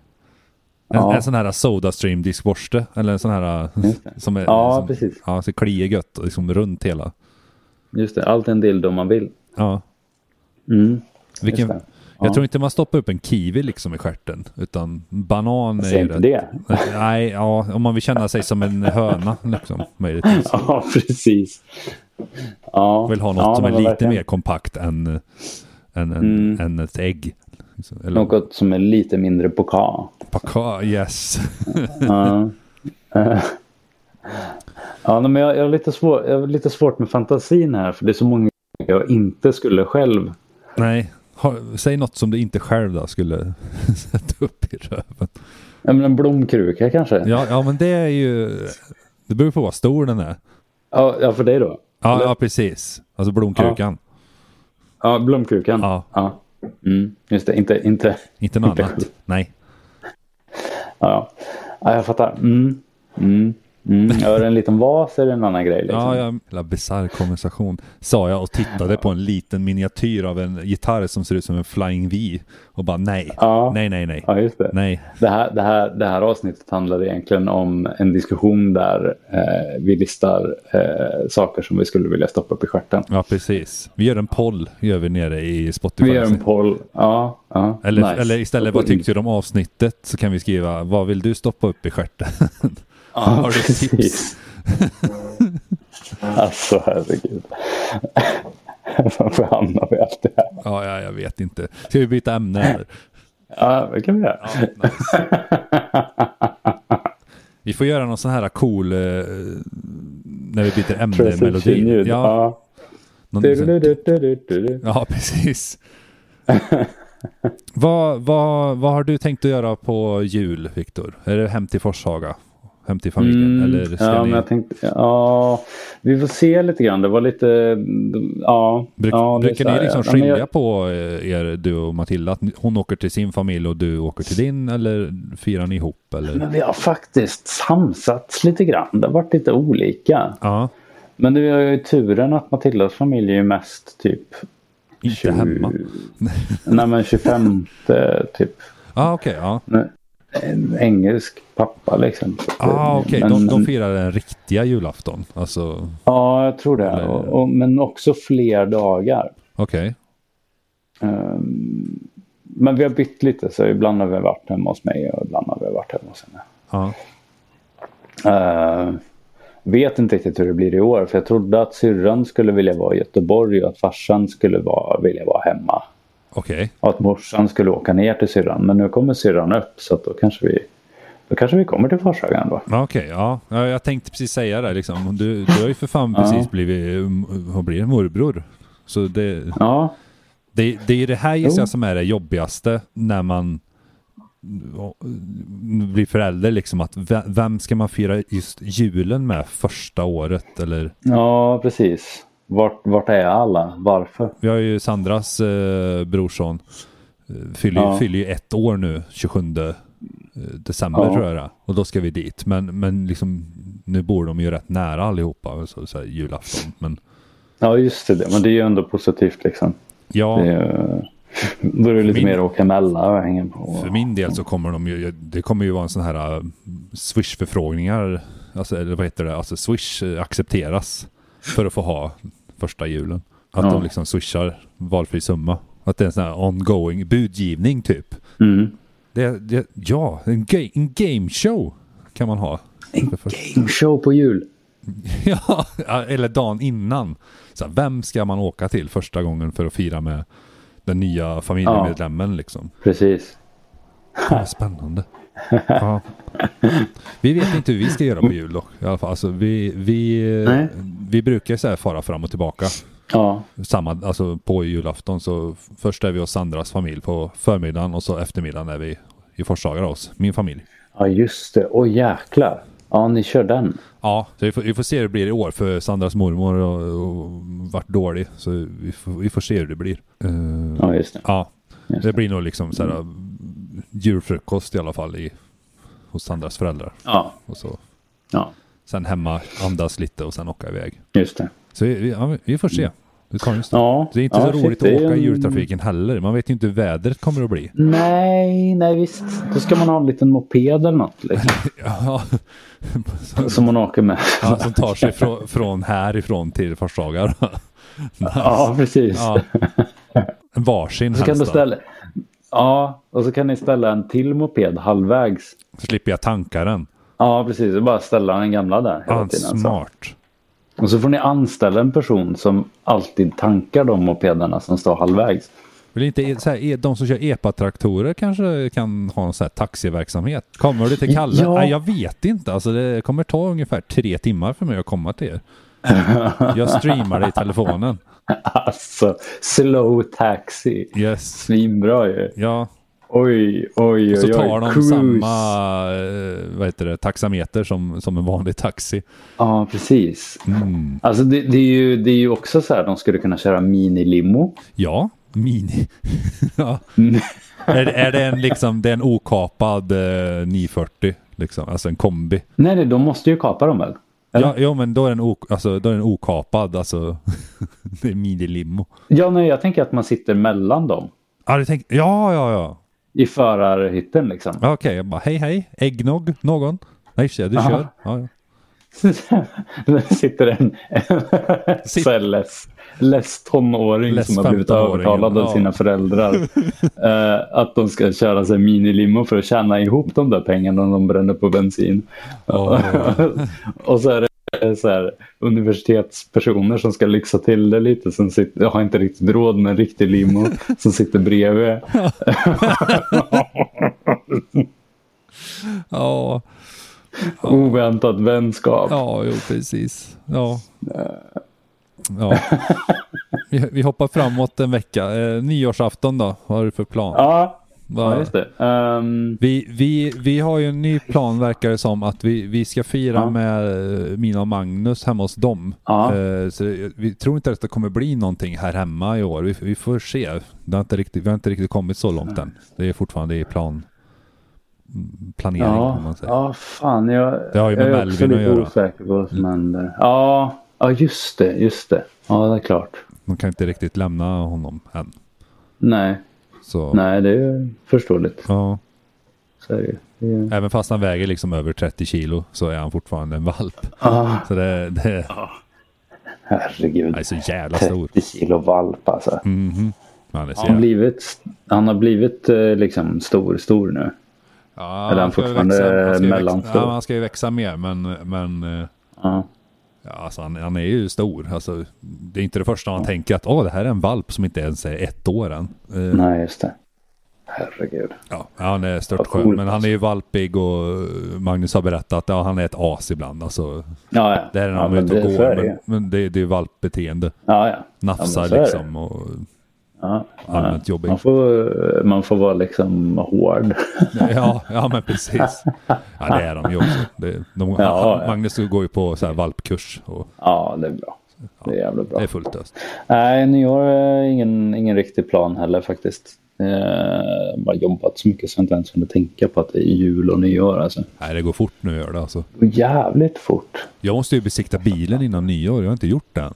Speaker 1: En,
Speaker 2: Ja.
Speaker 1: en sån här Sodastream diskborste, eller en sån här som är
Speaker 2: Ja,
Speaker 1: som,
Speaker 2: precis.
Speaker 1: Ja, så kliar gött och liksom runt hela.
Speaker 2: Just det, allt är en dildo man vill.
Speaker 1: Ja.
Speaker 2: Mm.
Speaker 1: Vilken,
Speaker 2: det.
Speaker 1: Jag tror inte man stoppar upp en kiwi liksom i stjärten, utan banan är
Speaker 2: Säg
Speaker 1: ju
Speaker 2: inte
Speaker 1: rätt.
Speaker 2: det.
Speaker 1: <laughs> Nej, ja, om man vill känna sig som en höna liksom, möjligtvis.
Speaker 2: Ja, <laughs> precis. Ja.
Speaker 1: Vill ha något
Speaker 2: ja,
Speaker 1: som är
Speaker 2: men
Speaker 1: lite
Speaker 2: verkligen. Mm.
Speaker 1: mer kompakt än, än, än, än ett ägg. Liksom, Eller,
Speaker 2: Något som är lite mindre pokal.
Speaker 1: Paka, yes.
Speaker 2: Ja. Eh. ja, nej, men jag, jag, har lite svår, jag har lite svårt med fantasin här. För det är så många jag inte skulle själv.
Speaker 1: Nej, har, säg något som du inte själv då skulle <laughs> sätta upp i röven.
Speaker 2: Ja, men en blomkruka kanske? Ja,
Speaker 1: Ja, ja men det är ju... Det beror på vad stor den är.
Speaker 2: ja, för dig då?
Speaker 1: Ja, ja precis. Alltså blomkrukan.
Speaker 2: Ja, blomkrukan.
Speaker 1: Ja.
Speaker 2: ja. Mm, just det, inte... inte.
Speaker 1: Inte något
Speaker 2: Inte
Speaker 1: annat.
Speaker 2: själv.
Speaker 1: Nej.
Speaker 2: Ja, ja, jag fattar. Mm. Mm. Mm. Ja, är det en liten vas är det en annan grej. Liksom.
Speaker 1: Ja, ja. Jävla bisarr konversation. Sa jag och tittade på en liten miniatyr av en gitarr som ser ut som en Flying V. Och bara nej.
Speaker 2: Ja.
Speaker 1: Nej, nej, nej.
Speaker 2: Ja, just det.
Speaker 1: Nej.
Speaker 2: Det, här, det, här, det här avsnittet handlade egentligen om en diskussion där eh, vi listar eh, saker som vi skulle vilja stoppa upp i stjärten.
Speaker 1: Ja, precis. Vi gör en poll gör vi nere i Spotify.
Speaker 2: Vi gör en poll. Ja, ja.
Speaker 1: Eller,
Speaker 2: nice.
Speaker 1: eller istället, vad tyckte du om avsnittet? Så kan vi skriva, vad vill du stoppa upp i stjärten?
Speaker 2: ja,
Speaker 1: har du
Speaker 2: precis.
Speaker 1: tips?
Speaker 2: alltså, herregud. <laughs> Varför hamnar vi alltid här?
Speaker 1: ja, ja, jag vet inte. Ska vi byta ämne eller?
Speaker 2: Ja, det kan vi göra.
Speaker 1: Ja, nice. Vi får göra någon sån här cool eh, när vi byter ämne i melodin.
Speaker 2: Presentinljud.
Speaker 1: Ja,
Speaker 2: Ja.
Speaker 1: någon sån-
Speaker 2: Du-du-du-du-du-du.
Speaker 1: ja, precis. vad, vad, vad har du tänkt att göra på jul, Viktor? Är det hem till Forshaga? hem till familjen?
Speaker 2: Mm,
Speaker 1: Eller ska
Speaker 2: ja,
Speaker 1: ni...
Speaker 2: men jag tänkte, ja, vi får se lite grann. Det var lite, ja.
Speaker 1: Bruk,
Speaker 2: ja, det är
Speaker 1: brukar
Speaker 2: så
Speaker 1: ni
Speaker 2: här,
Speaker 1: liksom
Speaker 2: ja, men jag-
Speaker 1: skilja på eh, er, du och Matilda? Att ni- hon åker till sin familj och du åker till din? Eller firar ni ihop? Eller?
Speaker 2: Men vi har faktiskt samsats lite grann. Det har varit lite olika.
Speaker 1: Ja,
Speaker 2: Men det är ju turen att Matildas familj är ju mest typ...
Speaker 1: inte
Speaker 2: tjugo-
Speaker 1: hemma.
Speaker 2: Nej men 25 <laughs> typ.
Speaker 1: Ah, okej. ja.
Speaker 2: En engelsk pappa liksom.
Speaker 1: ah, okay.
Speaker 2: Men-
Speaker 1: de, de
Speaker 2: men-
Speaker 1: firar den riktiga julafton. Alltså,
Speaker 2: Ja, jag tror det. Och, och, men också fler dagar.
Speaker 1: okej.
Speaker 2: Ehm, men vi har bytt lite så ibland har vi varit hemma hos mig och ibland har vi varit hemma hos henne.
Speaker 1: Ja.
Speaker 2: Ehm, vet inte riktigt hur det blir i år för jag trodde att syrran skulle vilja vara i Göteborg och att farsan skulle vara, vilja vara hemma.
Speaker 1: Okej.
Speaker 2: Och att morsan skulle åka ner till syrran. Men nu kommer syrran upp så att då kanske vi då kanske vi kommer till Forshaga då.
Speaker 1: Ja, Okej, ja. ja. Jag tänkte precis säga det liksom. Du, du har ju för fan precis blivit, um, vad blir det, morbror? Så det,
Speaker 2: Ja,
Speaker 1: det, det är det här gissar
Speaker 2: Jo.
Speaker 1: jag som är det jobbigaste när man ja, blir förälder liksom. Att ve- vem ska man fira just julen med första året? Eller,
Speaker 2: ja precis. Vart, vart är alla? Varför?
Speaker 1: vi har ju Sandras eh, brorson. eh, Fyller, ju-
Speaker 2: Ja.
Speaker 1: fyller ju ett år nu, 27 eh, december
Speaker 2: Ja.
Speaker 1: tror jag det är. Och då ska vi dit. Men, men liksom, nu bor de ju rätt nära allihopa. Så, så här, julafton. Men
Speaker 2: Ja just det, men det är ju ändå positivt liksom.
Speaker 1: Ja,
Speaker 2: Det är, ju- <laughs> då är det lite
Speaker 1: min-
Speaker 2: mer att åka mellan och hänga på.
Speaker 1: för min del så kommer de ju, det kommer ju vara en sån här äh, Swish-förfrågningar, alltså, eller vad heter det, alltså Swish eh, accepteras för att få ha första julen. Att
Speaker 2: Ja.
Speaker 1: de liksom swishar valfri summa. Att det är en sån här ongoing budgivning typ.
Speaker 2: Mm.
Speaker 1: Det, det, ja, en, ga- en game show kan man ha. <laughs> För- för-
Speaker 2: Show på jul.
Speaker 1: Ja, eller dagen innan. Så här, vem ska man åka till första gången för att fira med den nya familjemedlemmen liksom?
Speaker 2: Precis.
Speaker 1: Ja, spännande. Ja. Vi vet inte hur vi ska göra på jul dock. I alla fall. Alltså, vi, vi, eh,
Speaker 2: Nej.
Speaker 1: vi brukar så här fara fram och tillbaka.
Speaker 2: Ja.
Speaker 1: Samma, alltså på julafton så f- först är vi hos Sandras familj på förmiddagen och så eftermiddagen är vi i Forshaga hos min familj.
Speaker 2: ja, just det. Åh jäklar. Ja, ni kör den.
Speaker 1: Ja, så vi får, vi får se hur det blir i år för Sandras mormor och, och vart dålig. Så vi får, vi får se hur det blir. Eh,
Speaker 2: Ja, just det.
Speaker 1: ja,
Speaker 2: Just
Speaker 1: det blir nog liksom så här julfrukost i alla fall i, hos Sandras föräldrar.
Speaker 2: Ja.
Speaker 1: Och så
Speaker 2: ja,
Speaker 1: Sen hemma, andas lite och sen åka iväg.
Speaker 2: just det.
Speaker 1: Så vi, vi- ja, vi får se. Det, tar just det.
Speaker 2: Ja.
Speaker 1: det är inte
Speaker 2: ja,
Speaker 1: så
Speaker 2: shit,
Speaker 1: roligt
Speaker 2: det är
Speaker 1: att åka i
Speaker 2: en-
Speaker 1: jultrafiken heller. Man vet ju inte hur vädret kommer att bli.
Speaker 2: Nej, nej visst. Då ska man ha en liten moped eller något <laughs> liksom,
Speaker 1: Ja, som,
Speaker 2: som man åker med.
Speaker 1: <laughs> ja, som tar sig från, från härifrån till Forshaga. då.
Speaker 2: Ja, precis.
Speaker 1: Ja. Varsin
Speaker 2: Så kan
Speaker 1: helst
Speaker 2: du
Speaker 1: då.
Speaker 2: ställa... Ja, och så kan ni ställa en till moped halvvägs.
Speaker 1: Så slipper jag tanka den.
Speaker 2: Ja, precis. Och bara ställa den gamla där hela
Speaker 1: Fan,
Speaker 2: tiden. så.
Speaker 1: smart.
Speaker 2: Och så får ni anställa en person som alltid tankar de mopederna som står halvvägs.
Speaker 1: Vill inte e- så här, e- de som kör EPA-traktorer kanske kan ha en sån här taxiverksamhet? Kommer du till Kalle?
Speaker 2: Ja.
Speaker 1: Nej, jag vet inte. Alltså, det kommer ta ungefär tre timmar för mig att komma till er. Jag streamar det i telefonen.
Speaker 2: Alltså, slow taxi.
Speaker 1: Yes.
Speaker 2: Svinbra ju.
Speaker 1: Ja,
Speaker 2: Oj, oj, oj,
Speaker 1: så
Speaker 2: oj.
Speaker 1: tar de
Speaker 2: Cruise.
Speaker 1: samma eh, vad heter det, taxameter som, som en vanlig taxi.
Speaker 2: Ja, precis. Alltså det, det, är ju, det är ju också så här, de skulle kunna köra minilimo.
Speaker 1: Ja, mini. <laughs> ja. Är, är det en, liksom, det är en okapad eh, 940? Liksom, alltså en kombi.
Speaker 2: Nej, nej, de måste ju kapa dem väl?
Speaker 1: Ja, jo, men då är den, ok, alltså, då är den okapad. Alltså, <laughs> det är minilimo.
Speaker 2: Ja, nej, jag tänker att man sitter mellan dem.
Speaker 1: Ja, du tänk, ja, ja, ja.
Speaker 2: I förarhytten liksom.
Speaker 1: Ja, Okej, jag bara hej, hej. Äggnog, någon? Nej, tja, du kör. Ja, ja.
Speaker 2: Där sitter en
Speaker 1: Sitt-
Speaker 2: så här less, less tonåring
Speaker 1: Less
Speaker 2: som har blivit
Speaker 1: 15-åringen,
Speaker 2: övertalad av
Speaker 1: ja. <laughs>
Speaker 2: sina föräldrar eh, att de ska köra sig minilimo för att tjäna ihop de där pengarna de bränner på bensin.
Speaker 1: Åh.
Speaker 2: <laughs> och så är det så här, universitetspersoner som ska lyxa till det lite som sitter, har inte riktigt råd med en riktig limo som
Speaker 1: <laughs>
Speaker 2: sitter bredvid.
Speaker 1: ja.
Speaker 2: Oväntat vänskap.
Speaker 1: Ja, jo, precis. Ja. ja. Vi, vi hoppar framåt en vecka. Eh, nyårsafton då, vad har du för plan?
Speaker 2: Ja, Ja, just det. Ehm,
Speaker 1: Vi, vi, vi har ju en ny plan verkar det som att vi, vi ska fira
Speaker 2: Ja.
Speaker 1: med eh, mina och Magnus hemma hos dem.
Speaker 2: Ja.
Speaker 1: Eh, Så det- vi tror inte att det kommer bli någonting här hemma i år. Vi, vi får se. Det har inte riktigt, vi har inte riktigt kommit så långt än. Det är fortfarande i plan, planering
Speaker 2: ja,
Speaker 1: om man säger.
Speaker 2: ja, fan. Jag,
Speaker 1: Det har ju med
Speaker 2: jag är
Speaker 1: Melvin
Speaker 2: också
Speaker 1: att
Speaker 2: lite
Speaker 1: göra. Mm.
Speaker 2: osäker på vad som händer. Ja, ja, just det. Just det. Ja, det är klart.
Speaker 1: De kan inte riktigt lämna honom än.
Speaker 2: Nej,
Speaker 1: Så,
Speaker 2: nej det är förståeligt.
Speaker 1: Ja.
Speaker 2: Så är det ju. Det är-
Speaker 1: Även fast han väger liksom över 30 kilo så är han fortfarande en valp.
Speaker 2: Ah,
Speaker 1: Så det, det han
Speaker 2: herregud.
Speaker 1: är så jävla stor.
Speaker 2: 30 kilo valp
Speaker 1: Mm,
Speaker 2: alltså.
Speaker 1: Men Han är så
Speaker 2: Han,
Speaker 1: jävla
Speaker 2: har blivit, han har blivit eh, liksom stor, stor nu.
Speaker 1: Ja,
Speaker 2: Eller han
Speaker 1: ska ju
Speaker 2: fortfarande
Speaker 1: växa- han ska ju
Speaker 2: mellanstor?
Speaker 1: växa- Ja, han ska ju växa mer, men, men eh,
Speaker 2: Ja.
Speaker 1: ja, alltså, han, han är ju stor. Alltså, det är inte det första
Speaker 2: Ah.
Speaker 1: man tänker att åh, det här är en valp som inte ens är ett år än. Eh,
Speaker 2: Nej, just det. Herregud.
Speaker 1: ja, han är stört
Speaker 2: Vad coolt.
Speaker 1: men han är ju valpig och eh, Magnus har berättat att ja, han är ett as ibland. Alltså,
Speaker 2: Ja, ja.
Speaker 1: det är när
Speaker 2: ja,
Speaker 1: han är
Speaker 2: men
Speaker 1: ute och
Speaker 2: så
Speaker 1: går,
Speaker 2: är det ju.
Speaker 1: men, men det, det är ju valpbeteende.
Speaker 2: Ja, ja.
Speaker 1: Nafsar
Speaker 2: så är det.
Speaker 1: liksom och
Speaker 2: ja.
Speaker 1: allmänt jobbig.
Speaker 2: Man får, eh, man får vara liksom hård.
Speaker 1: <laughs>
Speaker 2: <laughs>
Speaker 1: Ja, ja men precis. Ja, det är de ju också. Det, de,
Speaker 2: Ja, ja.
Speaker 1: Magnus går ju på så här valpkurs och
Speaker 2: Ja, det är bra. Det är jävligt bra.
Speaker 1: det är fullt ös.
Speaker 2: Nej, nyår är ingen, ingen riktig plan heller faktiskt. Eh, Jag har bara jobbat så mycket så jag inte ens kunde tänka på att det är jul och nyår alltså.
Speaker 1: Nej, det går fort nu gör det alltså.
Speaker 2: Jävligt fort.
Speaker 1: Jag måste ju besikta bilen innan nyår, jag har inte gjort det än.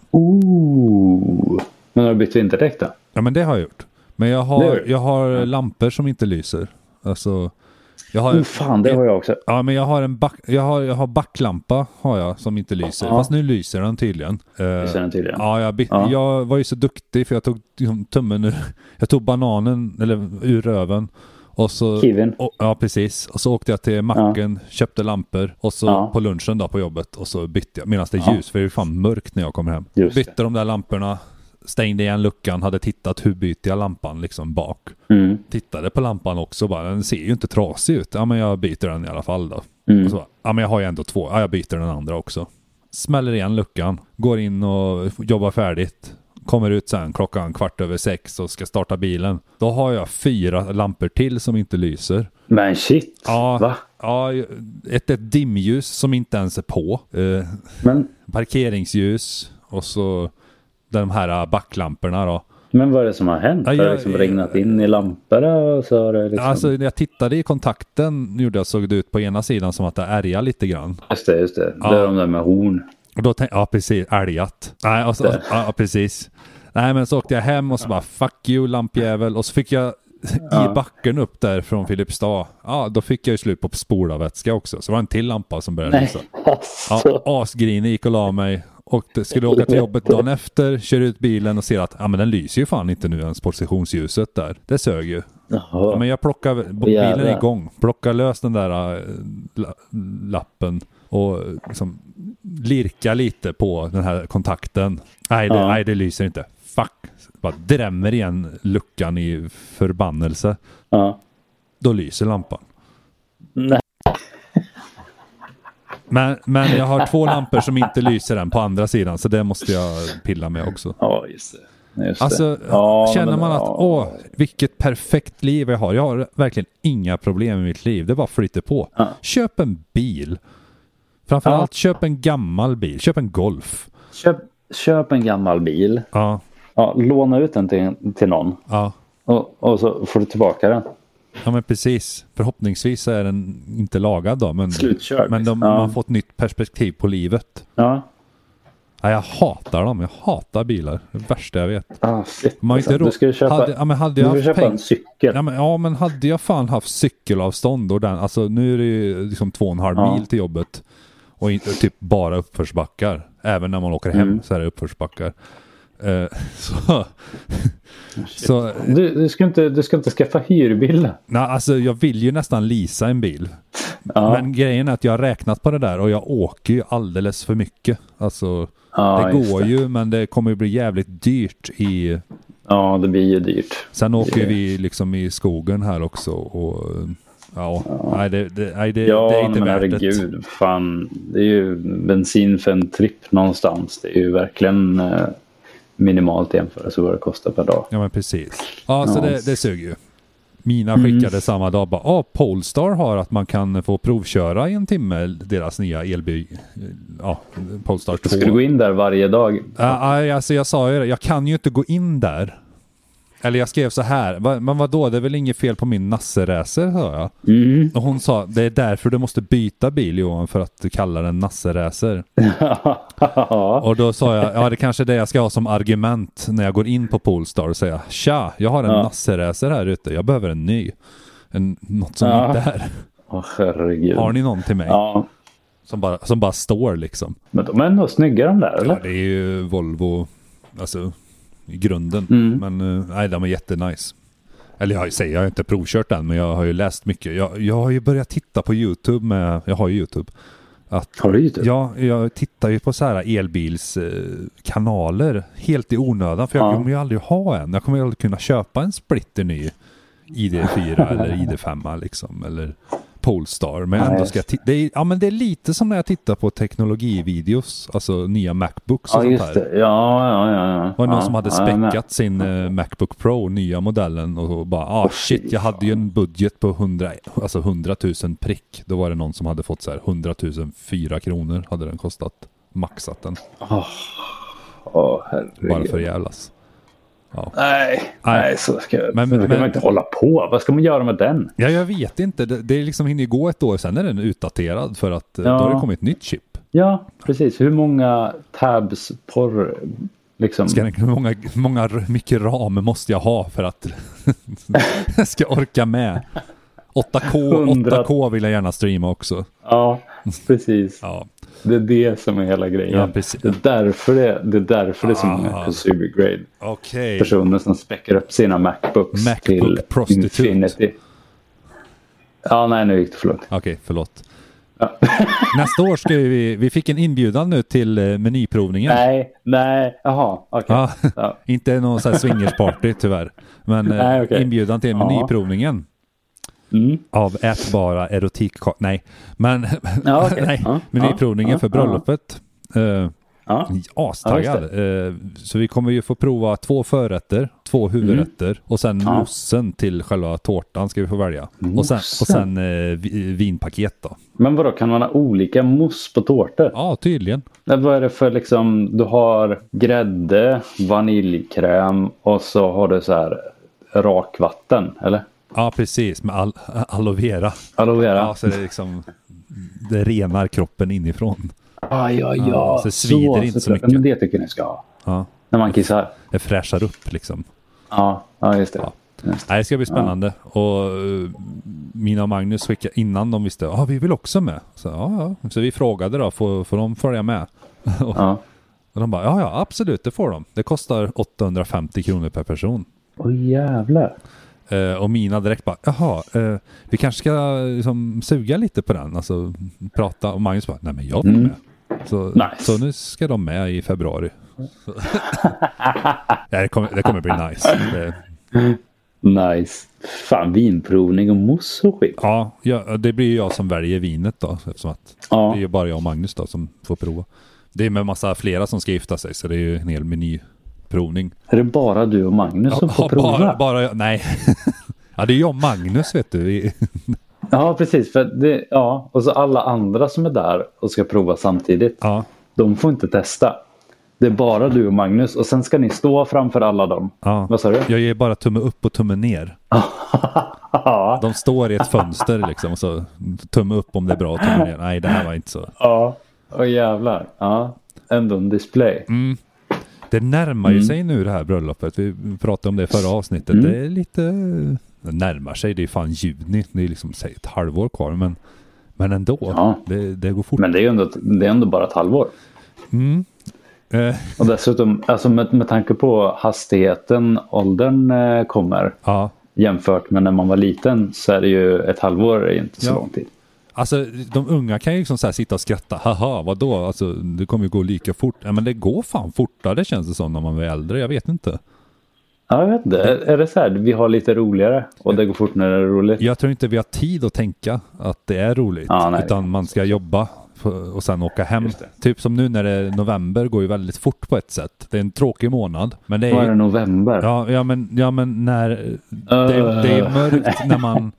Speaker 2: Ooh. Men har du bytt vinterdäck då?
Speaker 1: Ja men det har jag gjort. Men jag
Speaker 2: Det har
Speaker 1: har,
Speaker 2: du?
Speaker 1: jag har lampor som inte lyser. Alltså, jag har...
Speaker 2: Oh, fan, det har jag också.
Speaker 1: Ja men jag har en back, jag har, jag har backlampa har jag som inte lyser.
Speaker 2: Ja.
Speaker 1: Fast nu lyser den tydligen. Eh,
Speaker 2: Lyser den tydligen?
Speaker 1: Ja, jag, byt,
Speaker 2: Ja.
Speaker 1: jag var ju så duktig för jag tog liksom, tummen ur, jag tog bananen eller ur röven. Och så,
Speaker 2: Kiwin.
Speaker 1: och, ja precis. Och så åkte jag till macken, köpte lampor och så
Speaker 2: Ja.
Speaker 1: på lunchen då på jobbet och så bytte jag medan det är
Speaker 2: Ja.
Speaker 1: ljus för det är ju fan mörkt när jag kommer hem.
Speaker 2: Just det.
Speaker 1: bytte de där lamporna, stängde igen luckan, hade tittat hur byter jag lampan liksom bak.
Speaker 2: Mm.
Speaker 1: Tittade på lampan också bara, den ser ju inte trasig ut. Ja men jag byter den i alla fall då.
Speaker 2: Mm.
Speaker 1: Och så, bara, ja men jag har ju ändå två, ja jag byter den andra också. Smäller igen luckan, går in och jobbar färdigt. Kommer ut sen klockan kvart över sex och ska starta bilen. Då har jag fyra lampor till som inte lyser.
Speaker 2: Men shit. Va?
Speaker 1: Ja, ja ett, ett dimljus som inte ens är på. Eh,
Speaker 2: Men,
Speaker 1: parkeringsljus och så de här äh, backlamporna då.
Speaker 2: men vad är det som har hänt?
Speaker 1: Ja,
Speaker 2: har det
Speaker 1: jag-
Speaker 2: liksom regnat in i lamporna? Och så har det liksom...
Speaker 1: Alltså när jag tittade i kontakten gjorde jag såg det ut på ena sidan som att det ärgade lite grann.
Speaker 2: Just det, just det. Det är de där med horn.
Speaker 1: Och då tänkte jag, ja precis, älgat. Nej, och så, ja, ja, precis. Nej men så åkte jag hem och så bara fuck you lampjävel och så fick jag i backen upp där från Filipstad. Ja, då fick jag ju slut på spolarvätska också. Så det var en till lampa som började liksom. lysa. Ja,
Speaker 2: Alltså.
Speaker 1: asgrinig gick och la mig. Och det- skulle åka till jobbet dagen efter, kör ut bilen och ser att ja, men den lyser ju fan inte nu ens positionsljuset där. Det sög ju. Ja,
Speaker 2: Jaha.
Speaker 1: men jag plockar b-
Speaker 2: jävlar.
Speaker 1: bilen är igång, plockar lös den där äh, la, lappen och äh, liksom lirkar lite på den här kontakten. Nej, det,
Speaker 2: Ja.
Speaker 1: nej, det lyser inte. Fuck. Bara drämmer igen luckan i förbannelse.
Speaker 2: Ja.
Speaker 1: Då lyser lampan.
Speaker 2: Nej.
Speaker 1: Men, men jag har två lampor som inte lyser än på andra sidan, så det måste jag pilla med också.
Speaker 2: Ja, just det. Just
Speaker 1: Alltså,
Speaker 2: det. Ja,
Speaker 1: känner
Speaker 2: men-
Speaker 1: man att
Speaker 2: ja.
Speaker 1: åh, vilket perfekt liv jag har. Jag har verkligen inga problem i mitt liv. Det bara flyter på. Köp en bil. Framförallt köp en gammal bil. Köp en Golf.
Speaker 2: Köp, köp en gammal bil.
Speaker 1: Ja,
Speaker 2: Ja, låna ut den till, till någon.
Speaker 1: ja.
Speaker 2: Och, och så får du tillbaka den.
Speaker 1: ja men precis. Förhoppningsvis är den inte lagad då. Men,
Speaker 2: Slutkörd,
Speaker 1: men de,
Speaker 2: liksom. Ja.
Speaker 1: man får ett nytt perspektiv på livet.
Speaker 2: Ja.
Speaker 1: Ja, jag hatar dem. Jag hatar bilar. Det värsta jag vet.
Speaker 2: Ah, shit.
Speaker 1: Man har inte
Speaker 2: Alltså, du
Speaker 1: råd.
Speaker 2: ska ju köpa,
Speaker 1: hade, ja, men hade
Speaker 2: du
Speaker 1: jag
Speaker 2: ska
Speaker 1: haft
Speaker 2: köpa
Speaker 1: peng-
Speaker 2: en cykel.
Speaker 1: Ja men, ja men hade jag fan haft cykelavstånd och den, alltså nu är det ju liksom två och en halv
Speaker 2: Ja.
Speaker 1: mil till jobbet. Och inte, typ bara uppförsbackar. Även när man åker hem
Speaker 2: Mm.
Speaker 1: så är det uppförsbackar. Eh, <laughs>
Speaker 2: Oh,
Speaker 1: så, så
Speaker 2: Du, du, ska inte, du ska inte skaffa hyrbil.
Speaker 1: nej, alltså jag vill ju nästan leasa en bil.
Speaker 2: Ja.
Speaker 1: Men grejen är att jag har räknat på det där och jag åker ju alldeles för mycket. Alltså
Speaker 2: Ja,
Speaker 1: det
Speaker 2: just
Speaker 1: går
Speaker 2: det.
Speaker 1: ju men det kommer ju bli jävligt dyrt i
Speaker 2: Ja, det blir ju dyrt.
Speaker 1: Sen åker vi liksom i skogen här också och ja, Nej, det, det, nej, det,
Speaker 2: Ja,
Speaker 1: det är inte
Speaker 2: men
Speaker 1: värt
Speaker 2: herregud.
Speaker 1: det.
Speaker 2: Fan, det är ju bensin för en tripp någonstans. Det är ju verkligen eh, minimalt jämfört med vad det kostar per dag.
Speaker 1: Ja men precis. Ja, så
Speaker 2: Ja. Mm.
Speaker 1: det, det suger ju. Mina skickade samma dag bara, ah, Polestar har att man kan få provköra i en timme deras nya elbil. Ja, Polestar 2.
Speaker 2: Ska du gå in där varje dag? <laughs>
Speaker 1: Ja, aj, alltså jag sa ju det, jag kan ju inte gå in där. Eller jag skrev så här, "Va- men vadå, det är väl inget fel på min nasseracer, sa jag.
Speaker 2: Mm.
Speaker 1: Och hon sa, det är därför du måste byta bil Johan, för att du kallar den nasseracer.
Speaker 2: ja.
Speaker 1: Och då sa jag, ja det kanske är det jag ska ha som argument när jag går in på Polestar och säga, tja, jag har en
Speaker 2: Ja.
Speaker 1: nasseracer här ute, jag behöver en ny. En, något som
Speaker 2: Ja.
Speaker 1: inte är.
Speaker 2: Åh, herregud.
Speaker 1: Har ni någon till mig?
Speaker 2: Ja.
Speaker 1: Som, bara, som bara står liksom.
Speaker 2: Men de är ändå snygga de där,
Speaker 1: Ja,
Speaker 2: eller?
Speaker 1: det är ju Volvo, alltså i grunden.
Speaker 2: Mm.
Speaker 1: Men eh, nej, de är jättenice. Eller jag säger, jag har inte provkört den, men jag har ju läst mycket. Jag, jag har ju börjat titta på YouTube med, jag har ju YouTube. Att,
Speaker 2: Har du YouTube?
Speaker 1: ja, jag tittar ju på så här elbilskanaler helt i onödan, för jag
Speaker 2: Ja.
Speaker 1: kommer ju aldrig ha en. Jag kommer ju aldrig kunna köpa en splitter ny
Speaker 2: <laughs>
Speaker 1: ID4 eller ID5 liksom, eller Polestar. Men
Speaker 2: Nej,
Speaker 1: ändå ska jag ti- det, är, ja, men det är lite som när jag tittar på teknologivideos, alltså nya Macbooks och
Speaker 2: Ja,
Speaker 1: sånt
Speaker 2: just
Speaker 1: här.
Speaker 2: det. Ja, ja, ja. ja.
Speaker 1: Var det någon
Speaker 2: ja,
Speaker 1: som hade
Speaker 2: ja, jag med.
Speaker 1: späckat sin eh, Macbook Pro, nya modellen och bara ah shit, jag hade ju en budget på 100, alltså 100 000 prick. Då var det någon som hade fått så här 100 000 fyra kronor hade den kostat. Maxat den.
Speaker 2: Åh,
Speaker 1: Bara
Speaker 2: herregud.
Speaker 1: för att jävlas.
Speaker 2: Nej,
Speaker 1: Nej.
Speaker 2: nej, så ska,
Speaker 1: Men-
Speaker 2: men, så
Speaker 1: men-
Speaker 2: kan man inte hålla på. Vad ska man göra med den?
Speaker 1: Ja, jag vet inte. Det, det liksom hinner ju gå ett år, sen är den utdaterad för att eh,
Speaker 2: Ja.
Speaker 1: då har det kommit ett nytt chip.
Speaker 2: Ja, precis. Hur många tabs porr liksom?
Speaker 1: Ska den, hur många, hur många, mycket ram måste jag ha för att <laughs> jag ska orka med? 8K,
Speaker 2: 100.
Speaker 1: 8K vill jag gärna streama också.
Speaker 2: Ja, precis.
Speaker 1: Ja,
Speaker 2: Det är det som är hela grejen.
Speaker 1: Ja, precis. Ah.
Speaker 2: Det är därför det, det, är därför det är så många consumer grade
Speaker 1: okej.
Speaker 2: personer som späcker upp sina Macbooks
Speaker 1: Macbook
Speaker 2: till
Speaker 1: prostitute.
Speaker 2: Infinity. Ja, nej, nu gick det för långt.
Speaker 1: Okej, förlåt. <laughs> Nästa år ska ju vi, vi fick en inbjudan nu till eh, menyprovningen.
Speaker 2: Nej, nej, jaha, okej.
Speaker 1: Ja,
Speaker 2: Ja.
Speaker 1: <laughs> inte någon sån här swingersparty tyvärr. Men eh,
Speaker 2: Nej, okej.
Speaker 1: inbjudan till
Speaker 2: Ja. Mm.
Speaker 1: menyprovningen. Av ätbara erotikkakor. Nej, men
Speaker 2: <laughs> Ja, okej.
Speaker 1: <laughs> nej,
Speaker 2: Ja,
Speaker 1: menyprovningen
Speaker 2: ja,
Speaker 1: för
Speaker 2: ja.
Speaker 1: bröllopet. Eh,
Speaker 2: Ja.
Speaker 1: Astaggad.
Speaker 2: Ja,
Speaker 1: Eh, så vi kommer ju få prova två förrätter, två
Speaker 2: Mm.
Speaker 1: huvudrätter och sen mossen till själva tårtan ska vi få välja. Och sen, och sen eh, vi- vinpaket då.
Speaker 2: Men vadå, kan man ha olika mousse på tårtor?
Speaker 1: Ja, tydligen.
Speaker 2: Nej, Vad är det för liksom, du har grädde, vaniljkräm och så har du så här rakvatten, eller?
Speaker 1: Ja, precis. Med al- aloe vera.
Speaker 2: Aloe vera?
Speaker 1: Ja, så det, är liksom, det renar kroppen inifrån.
Speaker 2: Ja, ja, ja.
Speaker 1: Ja, så det svider inte så
Speaker 2: såklart.
Speaker 1: mycket.
Speaker 2: Men det tycker jag ni ska ha.
Speaker 1: Ja.
Speaker 2: När man kissar.
Speaker 1: Det fräschar upp liksom.
Speaker 2: Ja, ja just det.
Speaker 1: Nej, det ska bli spännande. Och eh, mina och Magnus skickade innan de visste, ja ah, vi vill också med. Så, ja, ja. så vi frågade då, får, får de följa med? och,
Speaker 2: Ja.
Speaker 1: och de bara, ja ja absolut det får de. Det kostar 850 kronor per person.
Speaker 2: Åh jävlar.
Speaker 1: Eh, och mina direkt bara, jaha, eh, vi kanske ska eh, liksom, suga lite på den, alltså prata. Och Magnus bara, nej men jag vill med. Så,
Speaker 2: Mm. Nice.
Speaker 1: så nu ska de med i februari. Så- <laughs> Nej, det, kommer, det kommer bli nice. Det,
Speaker 2: Nice. Fan, vinprovning och mousse och skit.
Speaker 1: ja, ja, det blir ju jag som väljer vinet då, eftersom att det
Speaker 2: Ja.
Speaker 1: är ju bara jag och Magnus då som får prova. Det är med massa flera som ska gifta sig, så det är ju en hel menyprovning.
Speaker 2: Är det bara du och Magnus som får
Speaker 1: Ja,
Speaker 2: prova?
Speaker 1: bara, bara jag, nej. <laughs> Ja, det är jag och Magnus vet du. Vi,
Speaker 2: Ja, precis. För det, ja. Och så alla andra som är där och ska prova samtidigt.
Speaker 1: ja,
Speaker 2: De får inte testa. Det är bara du och Magnus och sen ska ni stå framför alla dem.
Speaker 1: ja.
Speaker 2: Vad sa du?
Speaker 1: Jag ger bara tumme upp och tumme
Speaker 2: <laughs>
Speaker 1: ner.
Speaker 2: Ja.
Speaker 1: De står i ett fönster liksom och så tumme upp om det är bra och tumme ner. Nej, det här var inte så.
Speaker 2: Ja. Åh jävlar. Ja. Ändå en display.
Speaker 1: Mm. Det närmar ju
Speaker 2: Mm.
Speaker 1: sig nu det här bröllopet. Vi pratade om det i förra avsnittet. Det är lite... Det närmar sig. Det är fan juni. Det är liksom säg, ett halvår kvar. Men, men ändå.
Speaker 2: Ja.
Speaker 1: Det, det går fort.
Speaker 2: Men det är ju ändå, det är ändå bara ett halvår.
Speaker 1: Eh,
Speaker 2: Och dessutom, alltså med, med tanke på hastigheten åldern eh, kommer
Speaker 1: ja.
Speaker 2: jämfört med när man var liten så är det ju ett halvår är inte så
Speaker 1: Ja.
Speaker 2: lång tid.
Speaker 1: Alltså de unga kan ju liksom så här sitta och skratta. Haha, vadå? Alltså det kommer ju gå lika fort. Ja, men det går fan fortare känns det som när man är äldre. Jag vet inte.
Speaker 2: Ja, jag vet inte. Är, är det så här, vi har lite roligare och det går fort när det är roligt?
Speaker 1: Jag tror inte vi har tid att tänka att det är roligt.
Speaker 2: Ja, nej.
Speaker 1: utan man ska jobba upp och sen åka hem.
Speaker 2: Just det.
Speaker 1: Typ som nu när det är november går ju väldigt fort på ett sätt. Det är en tråkig månad. Men det är
Speaker 2: Var
Speaker 1: ju
Speaker 2: det november?
Speaker 1: Ja, ja, men, ja, men när det, det är mörkt när
Speaker 2: <laughs>
Speaker 1: man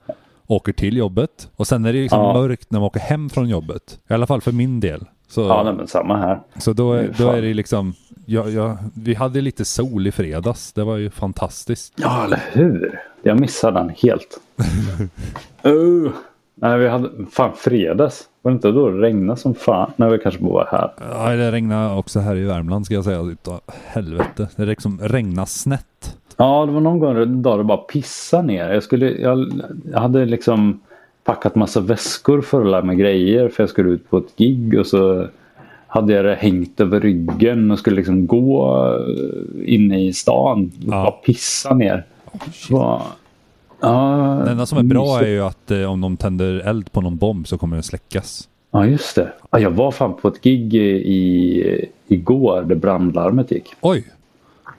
Speaker 1: åker till jobbet och sen är det liksom
Speaker 2: Ja.
Speaker 1: mörkt när man åker hem från jobbet. I alla fall för min del. Så,
Speaker 2: Ja, nej, men samma här.
Speaker 1: så då, är- då
Speaker 2: Fan.
Speaker 1: är det liksom, ja, ja, vi hade lite sol i fredags. Det var ju fantastiskt.
Speaker 2: Ja, eller hur? Jag missade den helt. uh. Nej, vi hade... Fan, fredags. Var det inte då det regnade som fan? Nej, vi kanske bara var här.
Speaker 1: Ja, det regnade också här i Värmland ska jag säga. Utav helvete. Det liksom regnade snett.
Speaker 2: Ja, det var någon gång då det bara pissade ner. Jag, skulle... jag... jag hade liksom packat massa väskor för att lära mig grejer för jag skulle ut på ett gig och så hade jag det hängt över ryggen och skulle liksom gå eh, inne i stan. och
Speaker 1: Ja.
Speaker 2: Bara pissa ner. Bara... Ja,
Speaker 1: Det enda som är bra är ju att eh, om de tänder eld på någon bomb så kommer den släckas.
Speaker 2: Ja, just det. Ja, jag var fan på ett gig i, i, igår där brandlarmet gick.
Speaker 1: Oj!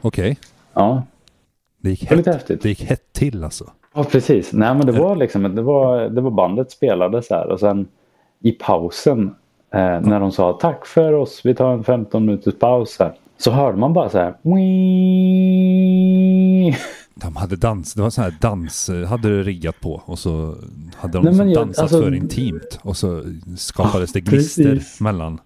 Speaker 1: Okej.
Speaker 2: Ja,
Speaker 1: Det gick
Speaker 2: det var lite
Speaker 1: hett.
Speaker 2: häftigt.
Speaker 1: Det gick hett till alltså.
Speaker 2: Ja, precis. Nej, men det var liksom, det var, det var bandet spelade så här och sen i pausen eh, när de sa tack för oss, vi tar en 15 minuters paus här. Så hörde man bara så här. "Wii."
Speaker 1: De hade dans, det var sån här dans, eh, hade det riggat på och så hade de
Speaker 2: Nej, men
Speaker 1: liksom
Speaker 2: jag-
Speaker 1: dansat
Speaker 2: alltså- Ah,
Speaker 1: för intimt och så skapades det gnister
Speaker 2: precis. Ah.
Speaker 1: mellan.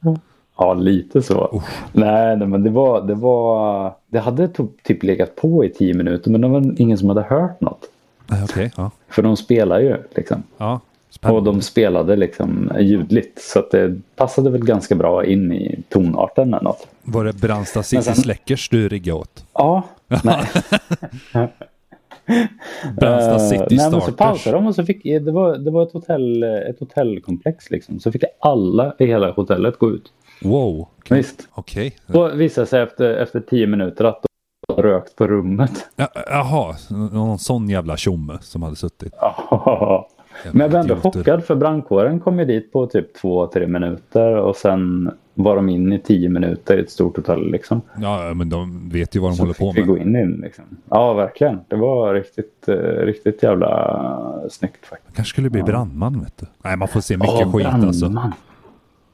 Speaker 2: Ja, lite så.
Speaker 1: Oh.
Speaker 2: Nej, nej, men det var, det var, det hade typ- typ legat på i 10 minuter men det var ingen som hade hört något.
Speaker 1: Nej, Eh, Okej, ja.
Speaker 2: För de spelar ju liksom.
Speaker 1: ja.
Speaker 2: Och
Speaker 1: Spännande.
Speaker 2: de spelade liksom ljudligt så att det passade väl ganska bra in i tonarten eller något.
Speaker 1: Var det Brandsta City
Speaker 2: Men sen-
Speaker 1: Släckers du riggade åt?
Speaker 2: Ja,
Speaker 1: Brandsta
Speaker 2: eh,
Speaker 1: City
Speaker 2: nej, men så
Speaker 1: Starters?
Speaker 2: pausade de och så fick, eh, det var, det var ett, hotell, eh, ett hotellkomplex liksom. Så fick alla i hela hotellet gå ut.
Speaker 1: Wow, okej.
Speaker 2: Visst.
Speaker 1: Okej.
Speaker 2: Då visade det sig efter, efter tio minuter att de hade rökt på rummet. <laughs>
Speaker 1: Ja, Jaha, någon sån jävla tjomme som hade suttit.
Speaker 2: Ja. Men jag var ändå chockad för brandkåren kom ju dit på typ två, tre minuter och sen var de in i tio minuter i ett stort hotell liksom.
Speaker 1: Ja, men de vet ju vad de
Speaker 2: Så
Speaker 1: håller på
Speaker 2: fick vi
Speaker 1: med.
Speaker 2: gå in i den. Liksom. Ja, verkligen. Det var riktigt, eh, riktigt jävla eh, snyggt faktiskt.
Speaker 1: Kanske skulle bli brandman vet du. Nej, man får se mycket
Speaker 2: Ja,
Speaker 1: skit
Speaker 2: brandman.
Speaker 1: alltså.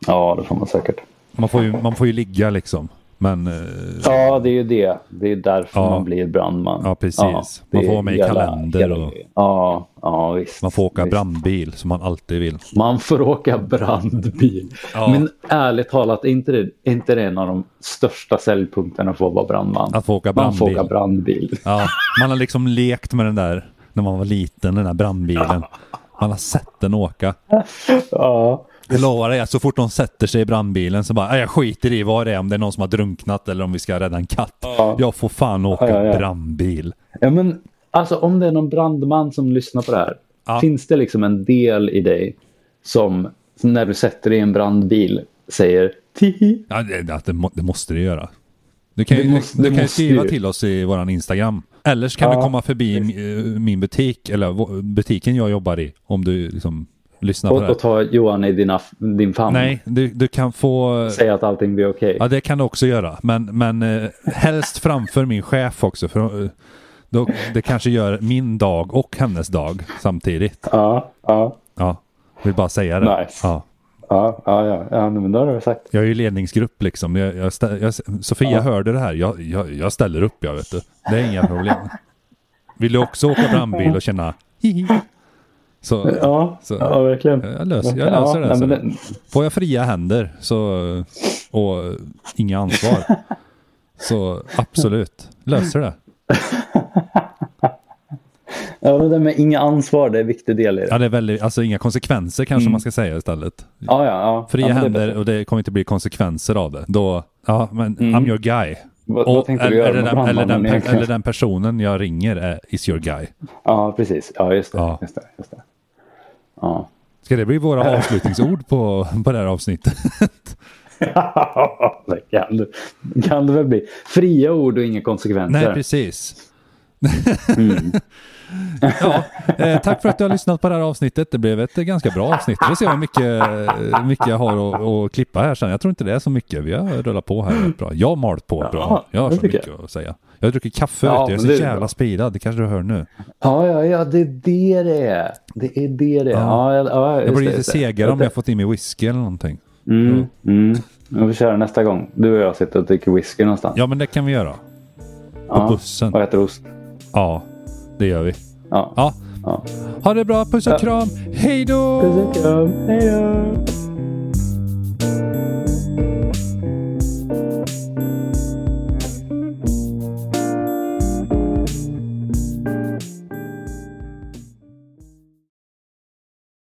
Speaker 2: Ja, det får man säkert.
Speaker 1: Man får ju, man får ju ligga liksom. Men eh,
Speaker 2: Ja, det är ju det. Det är därför
Speaker 1: Ja.
Speaker 2: man blir brandman.
Speaker 1: Ja, precis.
Speaker 2: det
Speaker 1: Man får
Speaker 2: är
Speaker 1: vara med i
Speaker 2: hela-
Speaker 1: kalender
Speaker 2: hela-
Speaker 1: och-
Speaker 2: Ja, ja, visst.
Speaker 1: man får åka
Speaker 2: visst.
Speaker 1: brandbil som man alltid vill.
Speaker 2: Man får åka brandbil.
Speaker 1: Ja.
Speaker 2: Men ärligt talat, är inte det, är inte det en av de största säljpunkterna för att vara brandman?
Speaker 1: Att få åka
Speaker 2: Man får
Speaker 1: brandbil.
Speaker 2: åka brandbil.
Speaker 1: Ja, man har liksom lekt med den där när man var liten, den där
Speaker 2: <laughs>
Speaker 1: brandbilen. Man har sett den åka.
Speaker 2: Ja.
Speaker 1: Jag lovar dig att så fort de sätter sig i brandbilen så bara, "Nej, jag skiter i vad det är, om det är någon som har drunknat eller om vi ska rädda en katt. Jag får fan åka
Speaker 2: Ja, ja, ja.
Speaker 1: brandbil.
Speaker 2: Ja, men alltså om det är någon brandman som lyssnar på det här.
Speaker 1: Ja.
Speaker 2: Finns det liksom en del i dig som, som när du sätter dig i en brandbil säger tihi?
Speaker 1: Ja, det, det, det må- det måste det göra. Du kan ju,
Speaker 2: Det måste-
Speaker 1: du
Speaker 2: det
Speaker 1: kan ju
Speaker 2: måste
Speaker 1: skriva
Speaker 2: ju.
Speaker 1: till oss i våran Instagram. Eller så kan du komma förbi eh, min butik, eller vå- butiken jag jobbar i, om du liksom lyssnar på
Speaker 2: Och,
Speaker 1: det här.
Speaker 2: och ta Johan i dina, din famn.
Speaker 1: Nej, du, du kan få...
Speaker 2: Säga att allting blir okej.
Speaker 1: Ja, det kan du också göra. Men, men eh, helst framför min chef också. För eh, då, det kanske gör min dag och hennes dag samtidigt.
Speaker 2: Ja, ja,
Speaker 1: Ja, vill bara säga det.
Speaker 2: Nice.
Speaker 1: Ja.
Speaker 2: ja, ja, ja, ja, men då har du sagt.
Speaker 1: Jag är ju ledningsgrupp liksom. Jag, jag stä, jag, Sofia hörde det här. Jag, jag, jag ställer upp, jag vet du. Det är inga problem. Vill du också åka brandbil och känna hihi? Så
Speaker 2: Ja,
Speaker 1: Så-
Speaker 2: ja verkligen.
Speaker 1: jag löser, jag löser det.
Speaker 2: ja, Nej,
Speaker 1: Så.
Speaker 2: men det.
Speaker 1: Får jag fria händer så, och eh, inga ansvar så absolut, löser det.
Speaker 2: Ja, men det med inga ansvar, det är en viktig del i det.
Speaker 1: Ja, det är väldigt, alltså inga konsekvenser kanske man ska säga istället.
Speaker 2: Ja, ja, ja.
Speaker 1: Fria
Speaker 2: Mm. ja, men det är
Speaker 1: händer
Speaker 2: bättre. Mm.
Speaker 1: och det kommer inte bli konsekvenser av det. Då, ja men I'm your guy.
Speaker 2: Vad, vad tänkte du göra
Speaker 1: eller,
Speaker 2: med
Speaker 1: den, eller, den,
Speaker 2: brandmannen
Speaker 1: per-
Speaker 2: egentligen?
Speaker 1: eller den personen jag ringer är, is your guy.
Speaker 2: Ja, precis. Ja, just det.
Speaker 1: Ja.
Speaker 2: Just det, just det. Ja.
Speaker 1: Ska det bli
Speaker 2: <laughs>
Speaker 1: våra avslutningsord på, på det här avsnittet?
Speaker 2: det kan, det- kan det väl bli. Fria ord och inga konsekvenser.
Speaker 1: Nej, precis.
Speaker 2: Mm.
Speaker 1: <laughs> ja, eh, tack för att du har lyssnat på det här avsnittet. Det blev ett eh, ganska bra avsnitt. Vi får se hur mycket, eh, mycket jag har att, att klippa här sen. Jag tror inte det är så mycket. Vi har rullat på här rätt bra. Jag har malt på bra. Jag har
Speaker 2: det
Speaker 1: så
Speaker 2: tycker
Speaker 1: mycket att säga. Jag dricker kaffe
Speaker 2: Ja,
Speaker 1: ute. Jag är
Speaker 2: men
Speaker 1: så
Speaker 2: det är
Speaker 1: jävla
Speaker 2: bra.
Speaker 1: speedad. Det kanske du hör nu.
Speaker 2: Ja, ja, ja, det är det det är. Det är det det är. Ja, ja, ja, just
Speaker 1: Jag blir
Speaker 2: det,
Speaker 1: lite
Speaker 2: just det.
Speaker 1: segare om jag fått i mig whisky eller någonting.
Speaker 2: Mm. Mm. Jag får köra nästa gång. Du och jag sitter och dricker whisky någonstans.
Speaker 1: Ja, men det kan vi göra. På
Speaker 2: Ja.
Speaker 1: bussen.
Speaker 2: Och äter ost.
Speaker 1: Ja, det gör vi.
Speaker 2: Ja.
Speaker 1: Ja,
Speaker 2: ja.
Speaker 1: ha det bra. Puss och kram. Hej då!
Speaker 2: Puss och kram. Hej då!